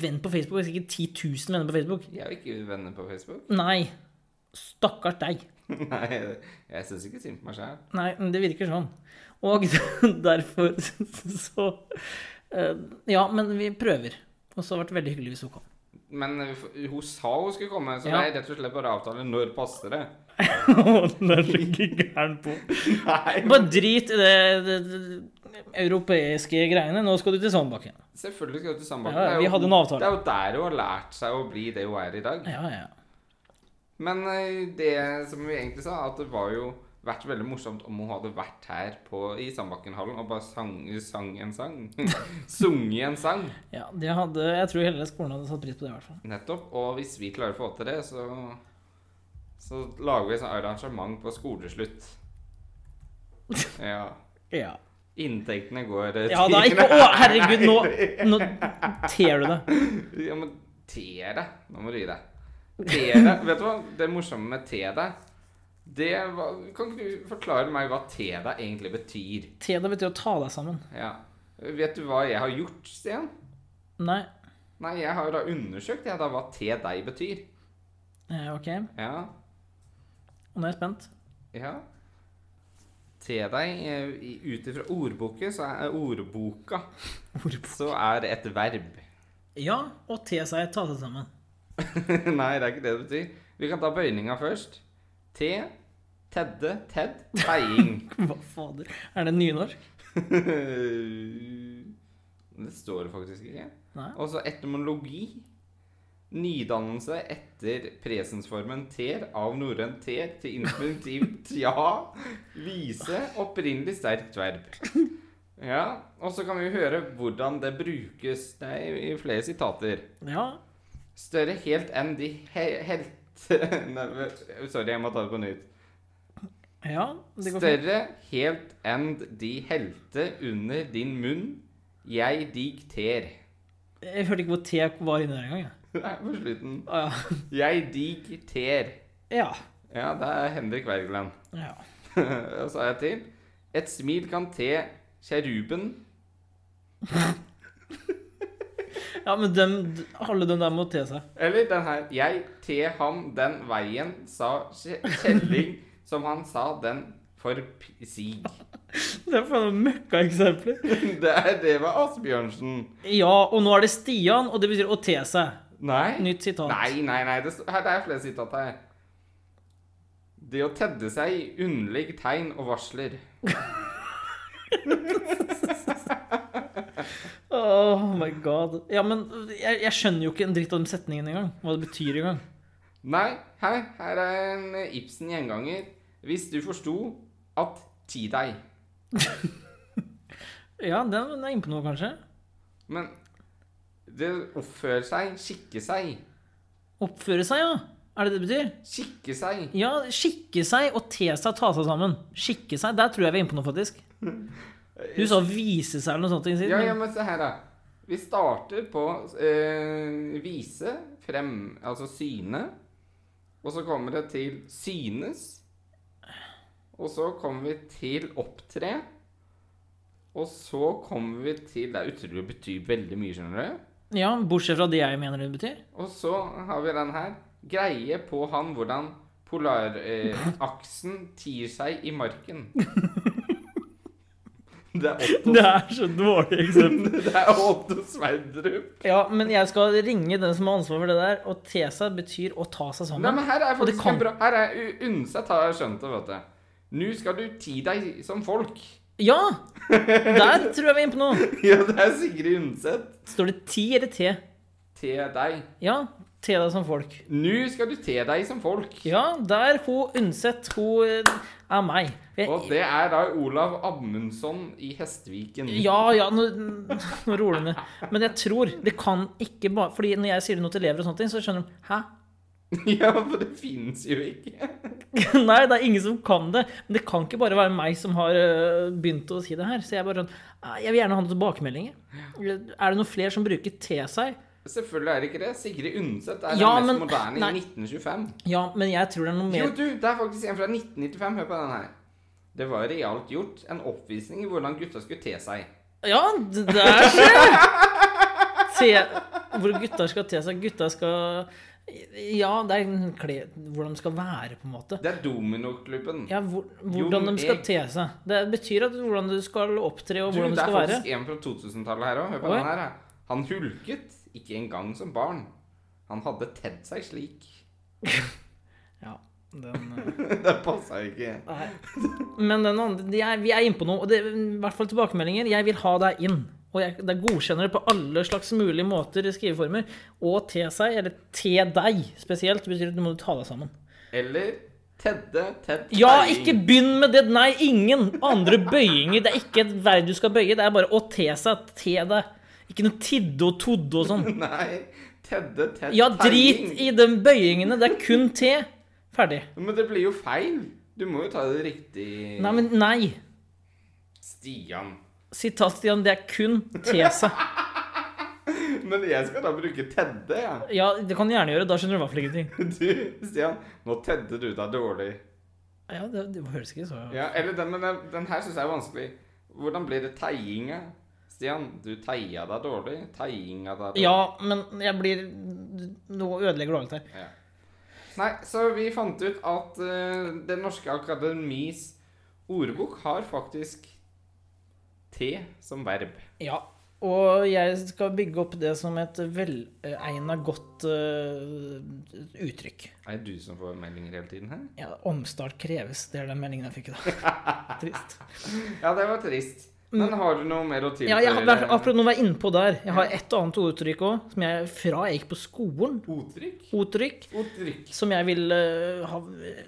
Venn på Facebook er sikkert 10 000 venner på Facebook.
Jeg er jo ikke venner på Facebook.
Nei. Stakkars deg.
Nei, jeg syns ikke synd på meg sjæl.
Nei, men det virker sånn. Og derfor så eh, Ja, men vi prøver. Og så har det vært veldig hyggelig hvis hun kom.
Men eh, f- hun sa hun skulle komme, så
Ja.
jeg rett og slett bare avtaler når passer det.
Den er så ikke gæren på.
Nei,
Bare drit i det, det, det europeiske greiene. Nå skal du til Sandbakken.
Selvfølgelig skal du til Sandbakken.
Ja, ja,
Det er
vi
jo-
hadde en avtale.
Det er jo der hun har lært seg å bli det hun er i dag.
Ja, ja.
Men eh, det som vi egentlig sa, at det var jo vært veldig morsomt om hun hadde vært her på, i Sandbakkenhallen og bare sang, sang en sang. Sunget en sang.
ja det hadde, jeg tror hele skolen hadde satt pris på det, i hvert fall.
Nettopp. Og hvis vi klarer å få til det, så, så lager vi et sånt arrangement på skoleslutt. Ja.
Ja.
Inntektene går eh,
ja da,
til-
ikke Å, herregud, nå, nå ter du det.
Ja, men te deg. Nå må du gi deg. Te deg. Vet du hva? Det morsomme med te deg det var, Kan ikke du forklare meg hva te deg egentlig betyr?
Te det betyr å ta deg sammen.
Ja. Vet du hva jeg har gjort, Stian?
Nei.
Nei, jeg har jo da undersøkt jeg da hva te deg betyr.
Eh, ok,
Ja.
og nå er jeg spent.
ja. Te deg eh, i- Ut ifra ordboken så er eh, ordboka så er det et verb.
Ja, og te seg, ta seg sammen.
Nei, det er ikke det det betyr. Vi kan ta bøyninga først. Te, tedde, ted, teiing.
Hva fader? Er det nynorsk?
det står det faktisk ikke.
Nei.
Og så etymologi. Nydannelse etter presensformen ter av norrøn ter til infinitiv tja. Vise opprinnelig sterkt verb. Ja, Og så kan vi jo høre hvordan det brukes. Det er i flere sitater.
Ja.
Større helt enn de he helt Nei, men- Sorry, jeg må ta det på nytt.
Ja, det går fint.
Større helt enn de helte under din munn, jeg dig ter.
Jeg hørte ikke hvor T var inne der engang. jeg.
Nei, på slutten.
Å, ja.
Jeg dig ter.
Ja.
Ja, det er Henrik Wergeland.
ja.
Og så er jeg til. Et smil kan te kjeruben.
Ja, men dem, alle dem der må te seg.
Eller den her. Jeg te ham den veien, sa Kje- Kjelling, som han sa den forsig.
Det er faen møkkaeksempler.
Det er det var Asbjørnsen.
Ja, og nå er det Stian, og det betyr å te seg.
Nei.
Nytt sitat.
Nei, nei, nei. Det, sto- her, det er flere sitat her. Det å tedde seg i underlig tegn og varsler.
Oh my god. Ja, men jeg, jeg skjønner jo ikke en dritt av den setningen engang. Hva det betyr engang.
Nei, her, her er en Ibsen-gjenganger. Hvis du forsto at ti deg.
Ja, den den er inne på noe, kanskje.
Men det oppfører seg, skikke seg.
Oppføre seg, ja. Er det det det betyr?
Skikke seg.
Ja, skikke seg og te seg, ta seg sammen. Skikke seg. Der tror jeg vi er inne på noe, faktisk. Du sa vise seg eller noe sånt. Ingrid,
Mm. Ja, ja,
men-
men se her, da. Vi starter på eh, vise, frem, altså syne. Og så kommer det til synes. Og så kommer vi til opptre. Og så kommer vi til Det er utrolig det betyr veldig mye, skjønner du.
ja, bortsett fra det jeg mener det betyr.
Og så har vi den her. Greie på han hvordan polaraksen tier seg i marken. Det er Otto,
Det er så dårlig eksempel.
det er Otto Sverdrup.
Ja, men jeg skal ringe den som har ansvar for det der. Og te seg betyr å ta seg
Nei,
sammen.
men her er
Og det
faktisk
kan-
en bra Her er u- Undset har jeg skjønt det, vet du. Nå skal du ti deg som folk.
Ja! Der tror jeg vi er inne på noe.
ja, det er Sigrid Undset.
Står det ti eller te?
Te deg.
Ja, te deg som folk.
Nå skal du te deg som folk.
Ja, der hun Undset, hun eh, er meg.
Og
Jeg,
det er da Olav Amundsen i Hestviken.
ja, ja, nå, nå roer det ned. Men jeg tror det kan ikke bare Fordi når jeg sier det nå til elever og sånne ting, så skjønner de Hæ?
Ja, for det finnes jo ikke.
Nei, det er ingen som kan det. Men det kan ikke bare være meg som har eh, begynt å si det her. Så jeg bare sånn «Ah, Jeg vil gjerne ha noen tilbakemeldinger. Er det noen flere som bruker te seg?
Selvfølgelig er det ikke det. Sigrid Undset er
Ja,
den
men-
mest moderne
nei.
i 1925.
Ja, men jeg tror det er noe
Jo,
mer
du, det er faktisk en fra 1995. Hør på den her. Det var realt gjort en oppvisning i hvordan gutta skulle te seg.
Ja, d- der skjer det! Te- Hvor gutta skal te seg. Gutta skal Ja, det er en kle, hvordan de skal være, på en måte.
Det er Dominoklubben.
Ja, hvor, hvordan de skal te seg. Det betyr at hvordan du skal opptre og
Du,
hvordan du
det er
skal være.
faktisk en fra 2000-tallet her òg. Hør på
Oi.
den her. da. Han hulket ikke engang som barn. Han hadde tedd seg slik.
Ja, den, eh,
Det passa ikke.
nei. Men den andre de er, Vi er inne på noe. Og det, I hvert fall tilbakemeldinger. Jeg vil ha deg inn. Og jeg jeg godkjenner det på alle slags mulige måter i skriveformer. Og te seg, eller te deg spesielt, betyr at du må ta deg sammen.
Eller tedde, tedd
Ja,
teiing.
ikke begynn med det. Nei, ingen andre bøyinger. Det er ikke et verb du skal bøye. Det er bare å te seg. Te deg. Ikke noe tidde og todde og sånn.
Nei. Tedde, tedd
Ja,
teiing.
drit i de bøyingene. Det er kun te. Ferdig.
Men det blir jo feil. Du må jo ta det riktig.
Nei, men nei.
Stian.
Sitat, Stian. Det er kun te seg.
Men jeg skal da bruke tedde, ja.
Ja, det kan du gjerne gjøre. Da skjønner du i hvert fall ingenting.
Du, Stian, nå tedde du deg dårlig.
Ja, det, det høres ikke så
Ja, eller den, men den, den her syns jeg er vanskelig. Hvordan blir det teiinga? Stian, du teia deg dårlig. Teiinga deg dårlig.
Ja, men jeg blir Nå ødelegger du alt her.
Ja. Nei, så vi fant ut at eh, Det Norske Akademis ordbok har faktisk T som verb.
Ja. Og jeg skal bygge opp det som et velegna, godt eh, uttrykk.
Er det du som får meldinger hele tiden her?
Ja, omstart kreves. Det er den meldingen jeg fikk i dag. Trist.
Ja, det var trist. Men har du noe mer å
Mm. Ja, jeg har,
tilføye?
akkurat nå var jeg inne på der. Jeg har et og annet ordtrykk òg, som jeg fra jeg gikk på skolen.
Ottrykk?
Ordtrykk
Ottrykk.
som jeg vil eh, ha eh,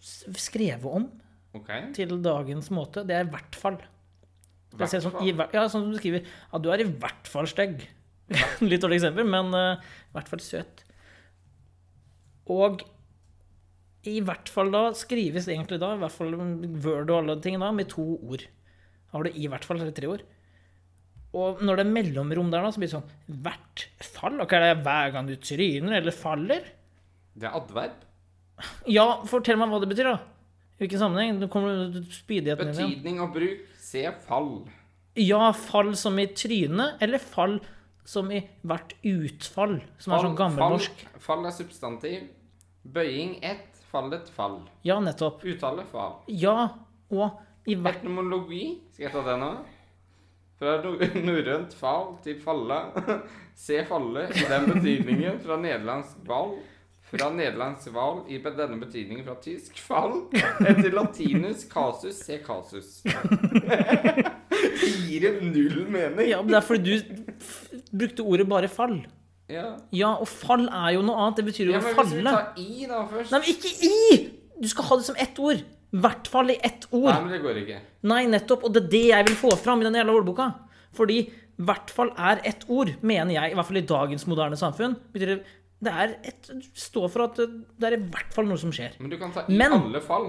s- skrevet om
OK.
til dagens måte. Det er i hvert fall. Jeg ser sånn,
Hvertfall.
i, hver- ja, sånn som du skriver Ja, du er i hvert fall stygg. Litt dårlig eksempel, men eh, i hvert fall søt. Og i hvert fall da skrives egentlig da, i hvert fall Word og alle de tingene da, med to ord. Da har du i hvert fall eller tre ord. Og når det er mellomrom der, da, så blir det sånn hvert fall? Ok, er det hver gang du tryner eller faller?
Det er adverb.
Ja, fortell meg hva det betyr, da. I hvilken sammenheng? Nå kommer du- spydigheten din igjen.
Betydning og bruk. Se fall.
Ja, fall som i trynet, eller fall som i hvert utfall, som er
Fall,
sånn gammelnorsk.
fall, fall er substantiv. Bøying ett. Fallet fall.
Ja, nettopp.
Uttale fall.
Ja, og i hvert
Etnomologi. Skal jeg ta det nå? Fra no- norrønt fall til falle. Se falle i den betydningen. Fra nederlandsk ball. Fra nederlandsk hval i be- denne betydningen fra tysk fall. Etter latinus casus. Se casus. Det gir en null mening.
Ja, men det er fordi du f- brukte ordet bare fall.
Ja.
Ja, og fall er jo noe annet. Det betyr jo
Ja,
å
men hvis vi
falle.
tar i da først
Nei, men ikke i! Du skal ha det som ett ord. I hvert fall i ett
Nei,
ord.
men det går ikke.
Nei, nettopp. Og det er det jeg vil få fram i den jævla ordboka. Fordi hvert fall er ett ord, mener jeg. I hvert fall i dagens moderne samfunn. Betyr det det er et Stå for at det er i hvert fall noe som skjer.
Men du kan ta i
Men-
alle fall.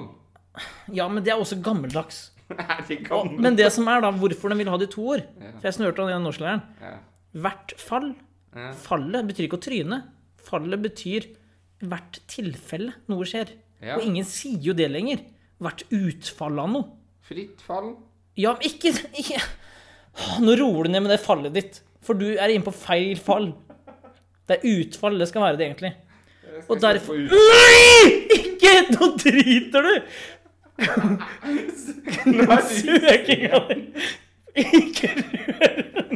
Ja, men det er også gammeldags.
Er det gammel?
Men det som er, da, hvorfor den vil ha de to ord
Ja.
For jeg snørte han igjen norsklæreren.
Ja.
Hvert fall.
Ja.
Fallet betyr ikke å tryne. Fallet betyr hvert tilfelle noe skjer.
Ja.
Og ingen sier jo det lenger. Hvert utfall av noe.
Fritt fall.
Ja, men ikke, ikke. Åh, Nå roer du ned med det fallet ditt. For du er inne på feil fall. Det er utfall det skal være det, egentlig.
Jeg
Og
skal ikke få
derfor
ut-
Nei! Ikke! Nå driter du!
Nå er du-
Søking av Ikke rør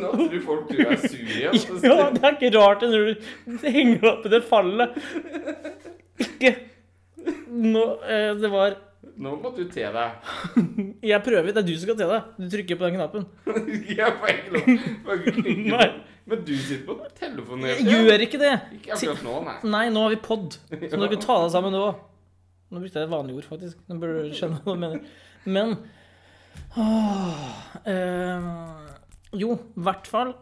Nå tror folk du er sur altså. igjen. så
Ja, det er ikke rart det når du henger deg opp i det fallet. Ikke Nå, eh, Det var
Nå må du te deg.
Jeg prøver. Det er du som skal til deg. Du trykker på den knappen.
Jeg får ikke lov. Får ikke klikke på.
Nei.
Men du sitter på telefonen.
Jeg
hele tiden.
gjør ikke det.
Ikke akkurat nå, nei.
Nei, nå har vi pod. Så nå kan vi ta deg sammen nå. Nå brukte jeg et vanlig ord, faktisk. Nå burde du skjønne hva jeg mener. Men åh, eh, Jo, i hvert fall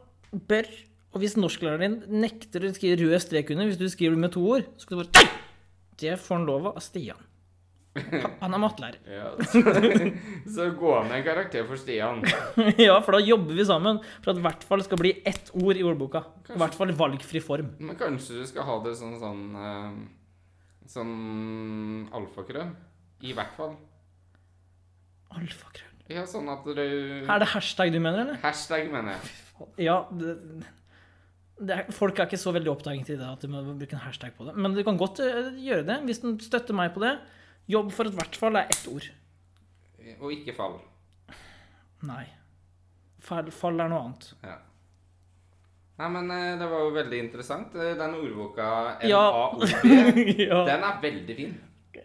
bør Og hvis norsklæreren din nekter å skrive rød strek under, hvis du skriver med to ord, så skal du bare Det får han lov av av Stian. Han han er mattelærer.
Ja, så, så gå av med en karakter for Stian.
Ja, for da jobber vi sammen for at i hvert fall skal bli ett ord i ordboka. I hvert fall valgfri form.
Men kanskje du skal ha det sånn sånn eh, Sånn alfakrøll. I hvert fall.
Alfakrøll.
Ja, sånn at du
Er det hashtag du mener, eller?
Hashtag, mener jeg.
Ja, det, det er, folk er ikke så veldig oppdaget i det at du må bruke en hashtag på det. Men du kan godt eh, gjøre det hvis den støtter meg på det. Jobb for at i hvert fall er ett ord.
Og ikke fall.
Nei. Fall, fall er noe annet.
Ja. Nei, men eh, det var jo veldig interessant. Eh, Den ordboka
Ja.
NAOB,
ja.
den er veldig fin.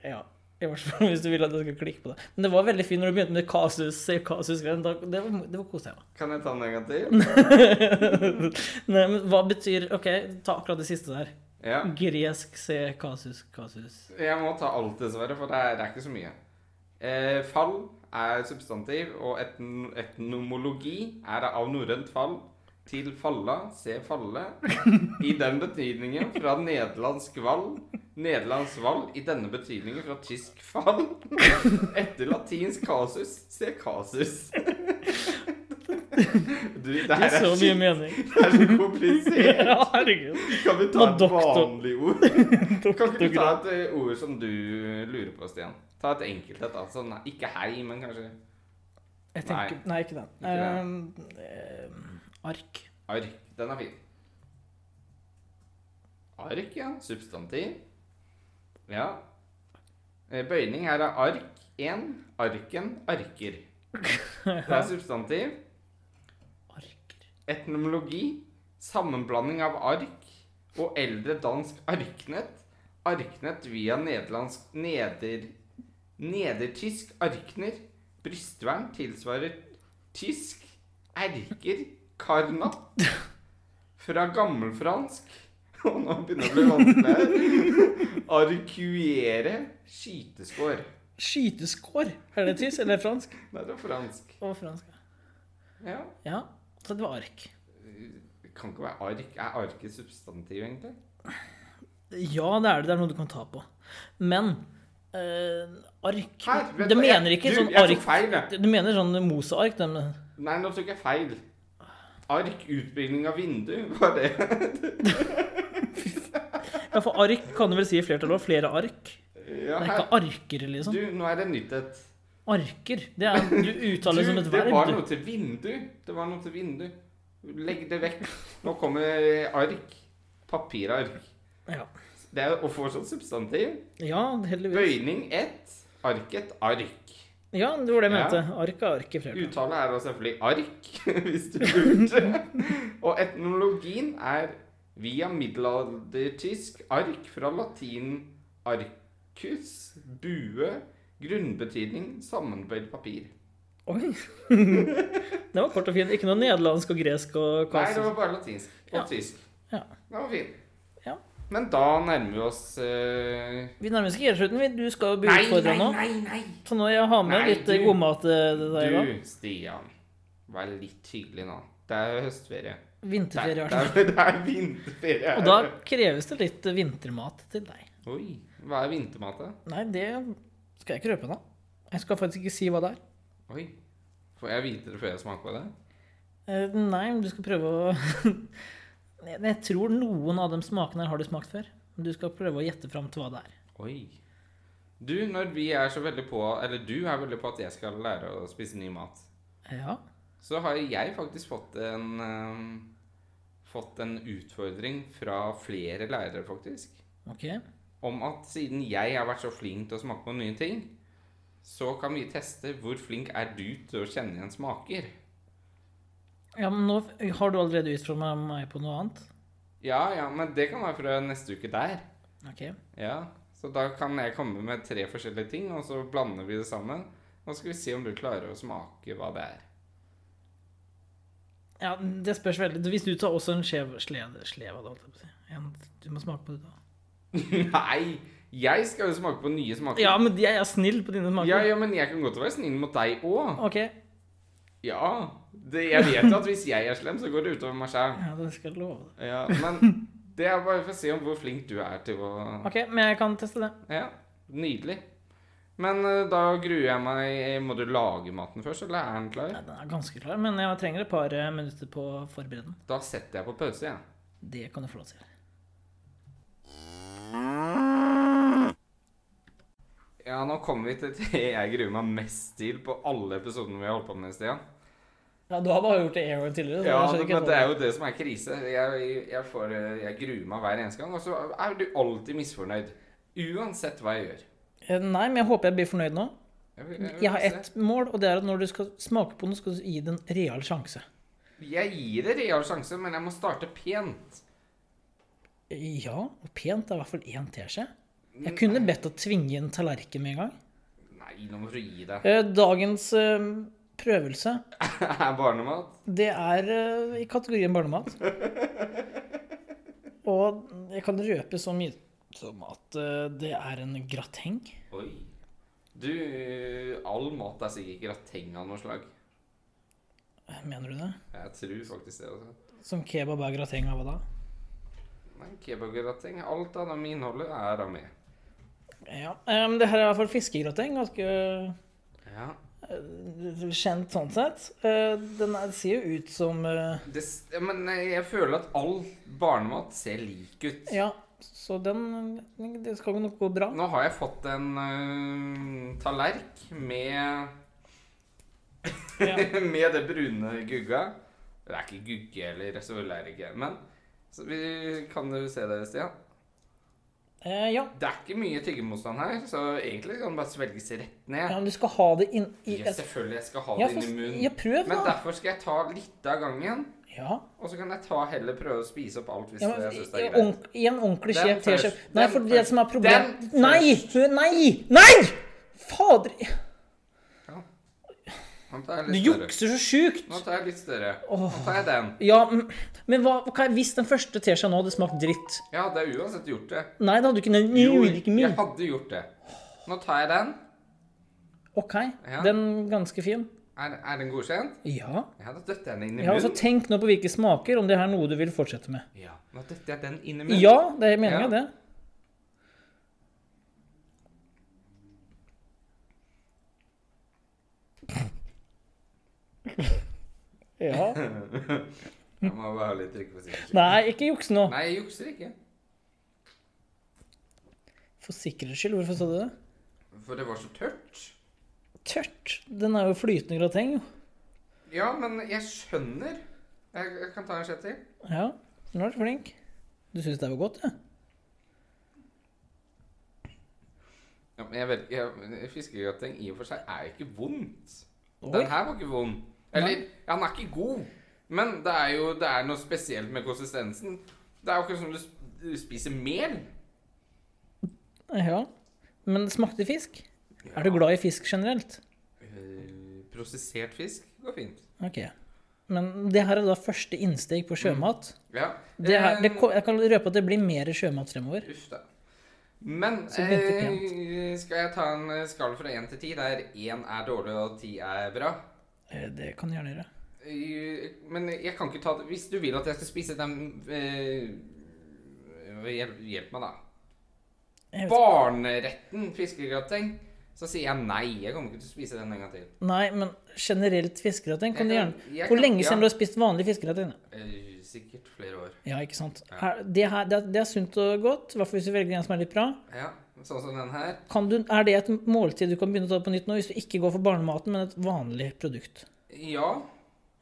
ja. I hvert fall hvis du vil at jeg skal klikke på det. Men det var veldig fint når du begynte med kasus. kasus det var, det var koselig. da.
Kan jeg ta den en gang til?
Nei, men hva betyr OK, ta akkurat det siste der.
Ja.
Gresk se kasus kasus.
Jeg må ta alt, dessverre, for det er, det er ikke så mye. Eh, fall er substantiv, og etn etnomologi er av norrønt fall. Til falla, se falle. I den betydningen fra nederlandsk vall. Nederlandsk vall i denne betydningen fra tysk fall. Etter latinsk casus, se casus. Du, det
Det er
her er,
så mye
skikkelig-
mening.
det er så komplisert.
Ja, herregud.
Kan vi ta
Må
et
doktor-
vanlig ord? Kan ikke du ta et eh, ord som du lurer på, Stian? Ta et enkelt et, altså. Nei, ikke hei, men kanskje
Jeg tenker, nei. ikke den. Ehm, ark.
ark. Den er fin. Ark, ja. Substantiv. Ja. Eh, Bøyning her er ark. Én. Arken. Arker. Det er substantiv.
Arker.
Etnomologi. Sammenblanding av ark og eldre dansk arknett. Arknett via nederlandsk neder... Nedertysk arkner. Brystvern tilsvarer tysk. Erker. Karna. Fra gammelfransk. Og nå begynner det å bli vanskelig her. Arkuere. Skyteskår.
Skyteskår. Er det tysk eller fransk?
Nei, det er fransk.
Og fransk. ja.
Ja.
Ja, så det var ark.
Det kan ikke være ark. Er arket substantiv, egentlig?
Ja, det er det. Det er noe du kan ta på. Men eh, ark
Her,
Det
vet du hva, jeg-
mener ikke
du,
sånn
jeg tok
ark
feil, jeg.
Du mener sånn Mose-ark? den-
Nei, nå tok jeg feil. Ark, utbygging av vindu, var det
Ja, for ark kan du vel si i flertall òg. Flere ark.
ja,
Det er
her.
ikke arker, liksom.
Du, nå er det nytt et.
Arker. Det er, du uttaler det som
Du,
et
det var
verb.
noe til vindu. Det var noe til vindu. Legg det vekk. Nå kommer ark. Papirark.
du. Ja.
Det er å få sånn substantiv.
ja, heldigvis.
Bøyning ett. Ark et ark.
Ja, det var det jeg
Ja.
mente. Ark er ark i flertall.
Uttale er da selvfølgelig ark, hvis du lurte. Og etnologien er via middelaldertysk ark fra latin arcus, bue, grunnbetydning, sammenbøyd papir.
Oi! det var kort og fint. Ikke noe nederlandsk og gresk og
Nei, det
kaos.
var bare latinsk og
Ja.
tysk.
Ja.
Den var fin.
Ja.
Men da nærmer vi oss eh,
Vi nærmer oss ikke helt slutten. vi. Du skal jo bli
Nei,
utfordra nå.
nei, nei!
Så nå jeg har med
Nei,
litt eh,
du-
godmat til deg i dag.
Du, Stian. Vær litt hyggelig nå. Det er høstferie. Det er,
Vinterferie.
det
altså.
er, det er vinterferie.
Og da kreves det litt eh, vintermat til deg.
Oi. Hva er vintermat, da?
Nei, det skal jeg ikke røpe nå. Jeg skal faktisk ikke si hva det er.
Oi. Får jeg vite det før jeg smaker på det?
Eh, Nei, men du skal prøve å Jeg jeg tror noen av de smakene her har du smakt før. Men du skal prøve å gjette fram til hva det er.
Oi. Du, når vi er så veldig på Eller du er veldig på at jeg skal lære å spise ny mat,
Ja.
så har jeg faktisk fått en ehm, Fått en utfordring fra flere lærere, faktisk.
Ok.
Om at siden jeg har vært så flink til å smake på nye ting, så kan vi teste hvor flink er du til å kjenne igjen smaker.
Ja, men nå har du allerede utfordra meg på noe annet.
Ja, ja, men det kan være fra neste uke der.
Ok.
Ja, så da kan jeg komme med tre forskjellige ting, og så blander vi det sammen. Og så skal vi se om du klarer å smake hva det er.
Ja, det spørs veldig. Hvis du tar også en skjev slede Slev av det, holdt jeg på å si. En- Du må smake på det, da.
Nei! Jeg skal jo smake på nye smaker.
Ja, men jeg er snill på dine smaker.
ja, ja, men jeg kan godt være snill mot deg òg.
Ok.
Ja. Det, jeg vet jo at hvis jeg er slem, så går det utover meg sjæl.
Ja, det skal jeg love deg.
Ja, men det er bare for å se om hvor flink du er til å
Ok, men jeg kan teste det.
Ja, nydelig. Men eh, da gruer jeg meg Må du lage maten først, eller er den klar?
Nei, den er ganske klar, men jeg trenger et par eh, minutter på å forberede den.
Da setter jeg på pause, jeg. Ja.
Det kan du få lov til.
Ja, nå kommer vi til det jeg gruer meg mest til på alle episodene vi har holdt på med, Stian.
Ja, du har bare gjort det en gang tidligere.
Ja,
jeg skjønner ikke
men
helt
det er jo det som er krise. Jeg, jeg, får, jeg gruer meg hver eneste gang, og så er du alltid misfornøyd. Uansett hva jeg gjør.
hva- Eh, Nei, men jeg håper jeg blir fornøyd nå.
Jeg, vil- jeg vil
Jeg har
se.
ett mål, og det er at når du skal smake på noe, skal du gi det en real sjanse.
Jeg gir det real sjanse, men jeg må starte pent.
Ja, og pent er i hvert fall én teskje. Jeg kunne bedt å tvinge en tallerken med en gang.
Nei, nå må du gi deg.
Eh, Dagens eh, prøvelse,
Er barnemat?
det er eh, i kategorien barnemat. Og jeg kan røpe så mye som at eh, det er en grateng.
Oi. Du, all mat er sikkert grateng av noe slag.
Eh, Mener du det?
Jeg tror faktisk det. altså.
Som kebab er grateng av hva da?
Nei, kebabgrateng. Alt av det med innholdet er av meg.
Ja, em, det her er i hvert fall fiskegrateng. Ganske eh,
Ja.
kjent sånn sett. Eh, Den er, ser jo ut som eh,
Det, s- ja, men jeg føler at all barnemat ser lik ut.
Ja, så den Det skal jo nok gå bra.
Nå har jeg fått en øh, tallerk med,
Ja.
med det brune gugga. Det er ikke gugge eller så vel er det ikke, men så vi, kan du se det, Stian?
Eh, ja.
Det er ikke mye tyggemotstand her, så egentlig kan det bare svelges rett
ja,
ned.
men du skal ha det inn i
Ja, selvfølgelig jeg skal ha
Ja,
det
for-
inn i munnen.
ja, prøv
Men
da.
derfor skal jeg ta litt av gangen,
Ja.
og så kan jeg ta heller prøve å spise opp alt hvis
ja
det-
men,
jeg syns det er greit.
ordent- I en ordentlig
Den
skjev teskje.
først.
Nei,
Den
for det
først.
som er
Den
problemet
først.
Nei! Nei! Nei! Fader
Nå tar jeg
Du
litt større.
jukser så sjukt!
Nå tar jeg litt større. Nå tar jeg den.
Ja, mm, men hva, hva hvis den første teskjea nå hadde smakt dritt?
Ja, det er uansett gjort det.
Nei, det hadde du ikke Nei,
Jo,
ikke mye.
jeg hadde gjort det. Nå tar jeg den.
Ok,
Ja.
den er ganske fin.
Er, er den godkjent?
Ja.
Ja, da døtter jeg den inn i
ja altså,
munnen.
tenk nå på hvilke smaker, om det her er noe du vil fortsette med.
Ja, nå døtter jeg den inn i munnen.
Ja, det er meninga,
Ja.
det.
Ja.
Jeg må bare ha litt trykk på sikkerhet.
Nei, ikke juks nå.
Nei, jeg jukser ikke.
For sikkerhets skyld, hvorfor sa du det?
For det var så tørt.
Tørt. Den er jo flytende grateng, jo.
Ja, men jeg skjønner. Jeg, jeg kan ta en sjett til.
Ja. Nå er du flink. Du syns det var godt, ja?
Ja, men jeg vet, jeg, Fiskegrateng i og for seg er ikke vondt.
Oi.
Den her var ikke vond. Eller, ja, den er ikke god, men det er jo det er noe spesielt med konsistensen. Det er jo ikke som du sp- du spiser mel.
Ja. Men det smakte fisk? Er du glad i fisk generelt?
Eh, prosessert fisk går fint.
Ok. Men det her er da første innsteg på sjømat.
Ja.
Det her, det,
Eh,
ko- jeg kan røpe at det blir mer sjømat fremover.
Uff da. Men
Så begynte
eh, skal jeg ta en eh, skala fra én til ti, der én er dårlig og ti er bra?
Eh, Det kan du gjerne gjøre.
Eh, Men jeg kan ikke ta det Hvis du vil at jeg skal spise den eh, hjelp, hjelp meg, da.
Jeg vet
Barneretten fiskegrateng. Så sier jeg nei. Jeg kommer ikke til å spise den en gang til.
Nei, men generelt fiskegrateng kan du
Jeg kan-
gjerne
Eh, jeg
Hvor
kan-
lenge siden
ja.
du har spist vanlig fiskegrateng?
Eh, sikkert flere år.
Ja, ikke sant. Er, det, her, det, er, det er sunt og godt, i hvert fall hvis du velger en som er litt bra.
Ja, Sånn som den her.
Kan du, er det et måltid du kan begynne å ta på nytt nå, hvis du ikke går for barnematen, men et vanlig produkt?
Ja,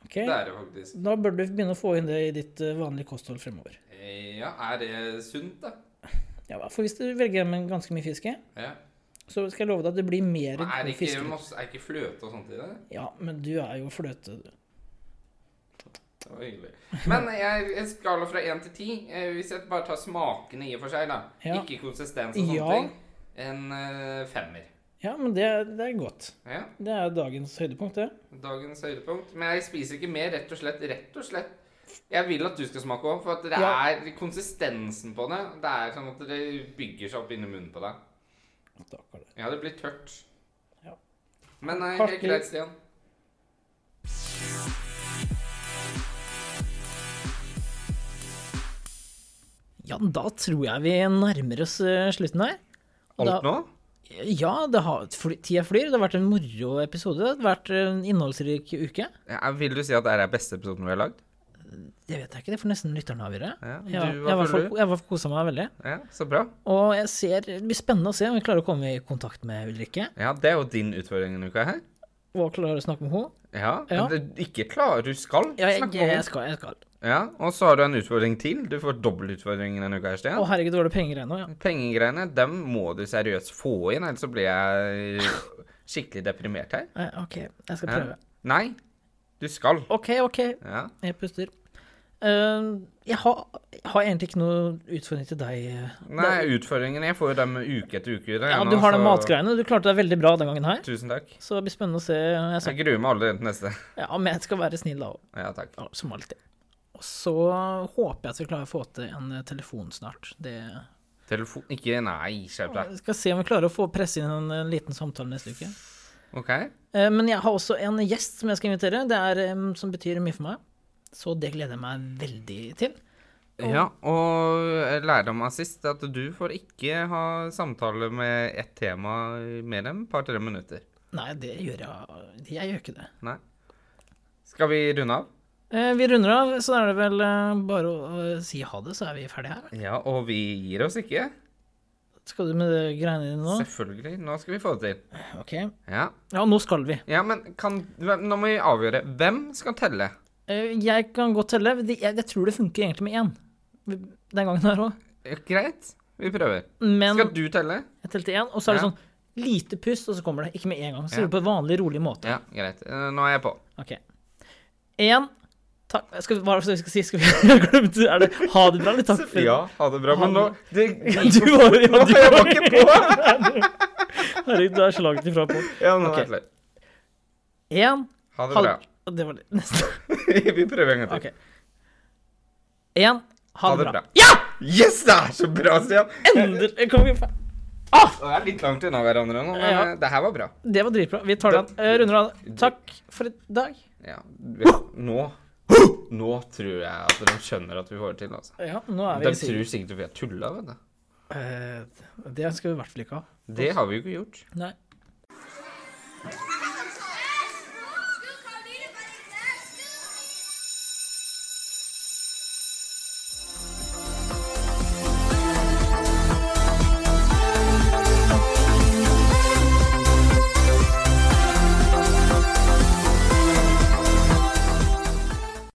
Ok?
det er det faktisk.
Da bør du begynne å få inn det i ditt eh, vanlige kosthold fremover.
Eh, Ja, Er det sunt, da?
Ja, for hvis du velger en med ganske mye fiske,
Ja.
så skal jeg love deg at det blir mer
Men Er det ikke,
fiske.
masse, er det ikke fløte og sånt i det?
Ja, men du er jo fløte...
Det var hyggelig. Men jeg, jeg skala fra 1 til 10. Eh, Hvis jeg bare tar smakene i og for seg, da.
Ja.
Ikke konsistens og sånne
Ja.
ting. En eh, femmer.
Ja, men det, er- det er godt.
Ja,
Det er dagens høydepunkt, det.
Dagens høydepunkt. Men jeg spiser ikke mer, rett og slett. Rett og slett. Jeg vil at du skal smake òg, for at det
Ja.
er konsistensen på det. Det er sånn at det bygger seg opp inni munnen på deg.
Stakkar.
Ja, det blir tørt.
Ja.
Men nei,
Hardt
helt greit, Stian.
Ja, da tror jeg vi nærmer oss eh, slutten her. Da-
nå?
Ja, det har, fly- tida flyr. Det har vært en moro episode. Det har vært en innholdsrik uke.
vil du si at dette er beste episoden vi har lagd?
Det vet jeg ikke, det får nesten lytterne avgjøre.
Ja, du,
Jeg, var-
hva
jeg, var
føler
for- jeg var kosa meg veldig.
Ja, så bra.
Og jeg ser, det blir spennende å se om vi klarer å komme i kontakt med Ulrikke.
Ja, det er jo din utfordring denne uka her.
Og klarer å snakke med henne.
Ja,
Ja.
men det- ikke klar, du skal
Ja, jeg,
snakke om
jeg
det.
skal. jeg skal.
Ja, og så har du en utfordring til. Du får dobbel utfordring denne uka, her,
Å
Stian.
herregud, var det penger ennå? Ja.
Pengegreiene, dem må du seriøst få inn, ellers så blir jeg skikkelig deprimert her.
Eh, OK, jeg skal
Ja.
prøve.
Nei, du skal.
OK, OK.
Ja.
Jeg puster. Eh, jeg, har, jeg har egentlig ikke noe utfordring til deg. eh.
Nei, utfordringene, jeg får jo dem uke etter uke.
Ja, altså-
igjen,
du har
og
de
så-
matgreiene. Du klarte deg veldig bra den gangen her.
Tusen takk.
Så det blir spennende å se. Jeg sa,
Jeg gruer meg allerede til neste.
ja, men jeg skal være snill da òg.
Ja, takk.
Ja, som alltid. Og så håper jeg at vi klarer å få til en eh, telefon snart. Det
Telefon... Ikke, nei, skjerp deg.
Vi skal se om vi klarer å få presse inn en, en liten samtale neste uke.
Ok?
Eh, Men jeg har også en gjest som jeg skal invitere, det er, em, som betyr mye for meg. Så det gleder jeg meg veldig til.
Ja, og lærdom av sist er at du får ikke ha samtale med ett tema mer enn et par-tre minutter.
Nei, det gjør jeg Jeg gjør ikke det.
Nei. Skal vi runde av?
Eh, Vi runder av, så er det vel eh, bare å eh, si ha det, så er vi ferdige her.
Ja, og vi gir oss ikke.
Skal du med de greiene dine nå?
Selvfølgelig. Nå skal vi få det til.
Ok.
Ja,
Ja, nå skal vi.
ja men kan, hvem- nå må vi avgjøre. Hvem skal telle?
Eh, Jeg kan godt telle. Det- Jeg, jeg tror det funker egentlig med én. Den gangen her òg.
Eh, Greit, vi prøver.
Men
Skal du telle?
jeg telte én, og så er det
Ja.
sånn lite pust, og så kommer det. Ikke med en gang. Så
Ja.
gjør vi på en vanlig, rolig måte.
Ja, greit. Eh, Nå er jeg på.
Ok. Én Takk. Skal vi, hva er det vi skal si? Skal vi jeg glemte Er det ha det bra, eller takk for
Ja, ha det bra. Men nå det,
Du var, ja,
Nå
du
er jeg var ikke på!
Herregud, du er slaget ifra på.
Ja, nå er
Ok.
jeg klar.
Én
Ha det
ha
bra.
det Det var litt Neste.
Vi prøver en gang til.
Ok. Én ha det bra.
Ja! Yes, det er så bra, Stian!
Endelig kom vi fa-
Det er litt langt unna hverandre nå, men
Ja.
eh, det her var bra.
Det var dritbra. Vi tar den. Eh, Runder av. Takk for i dag.
Ja, vet, nå Nå tror jeg at de skjønner at vi får det til, altså.
Ja, nå er vi
De
i siden.
tror sikkert at vi har tulla, vet du.
Eh, Det skal vi i hvert fall ikke ha.
Det har vi jo ikke gjort.
Nei.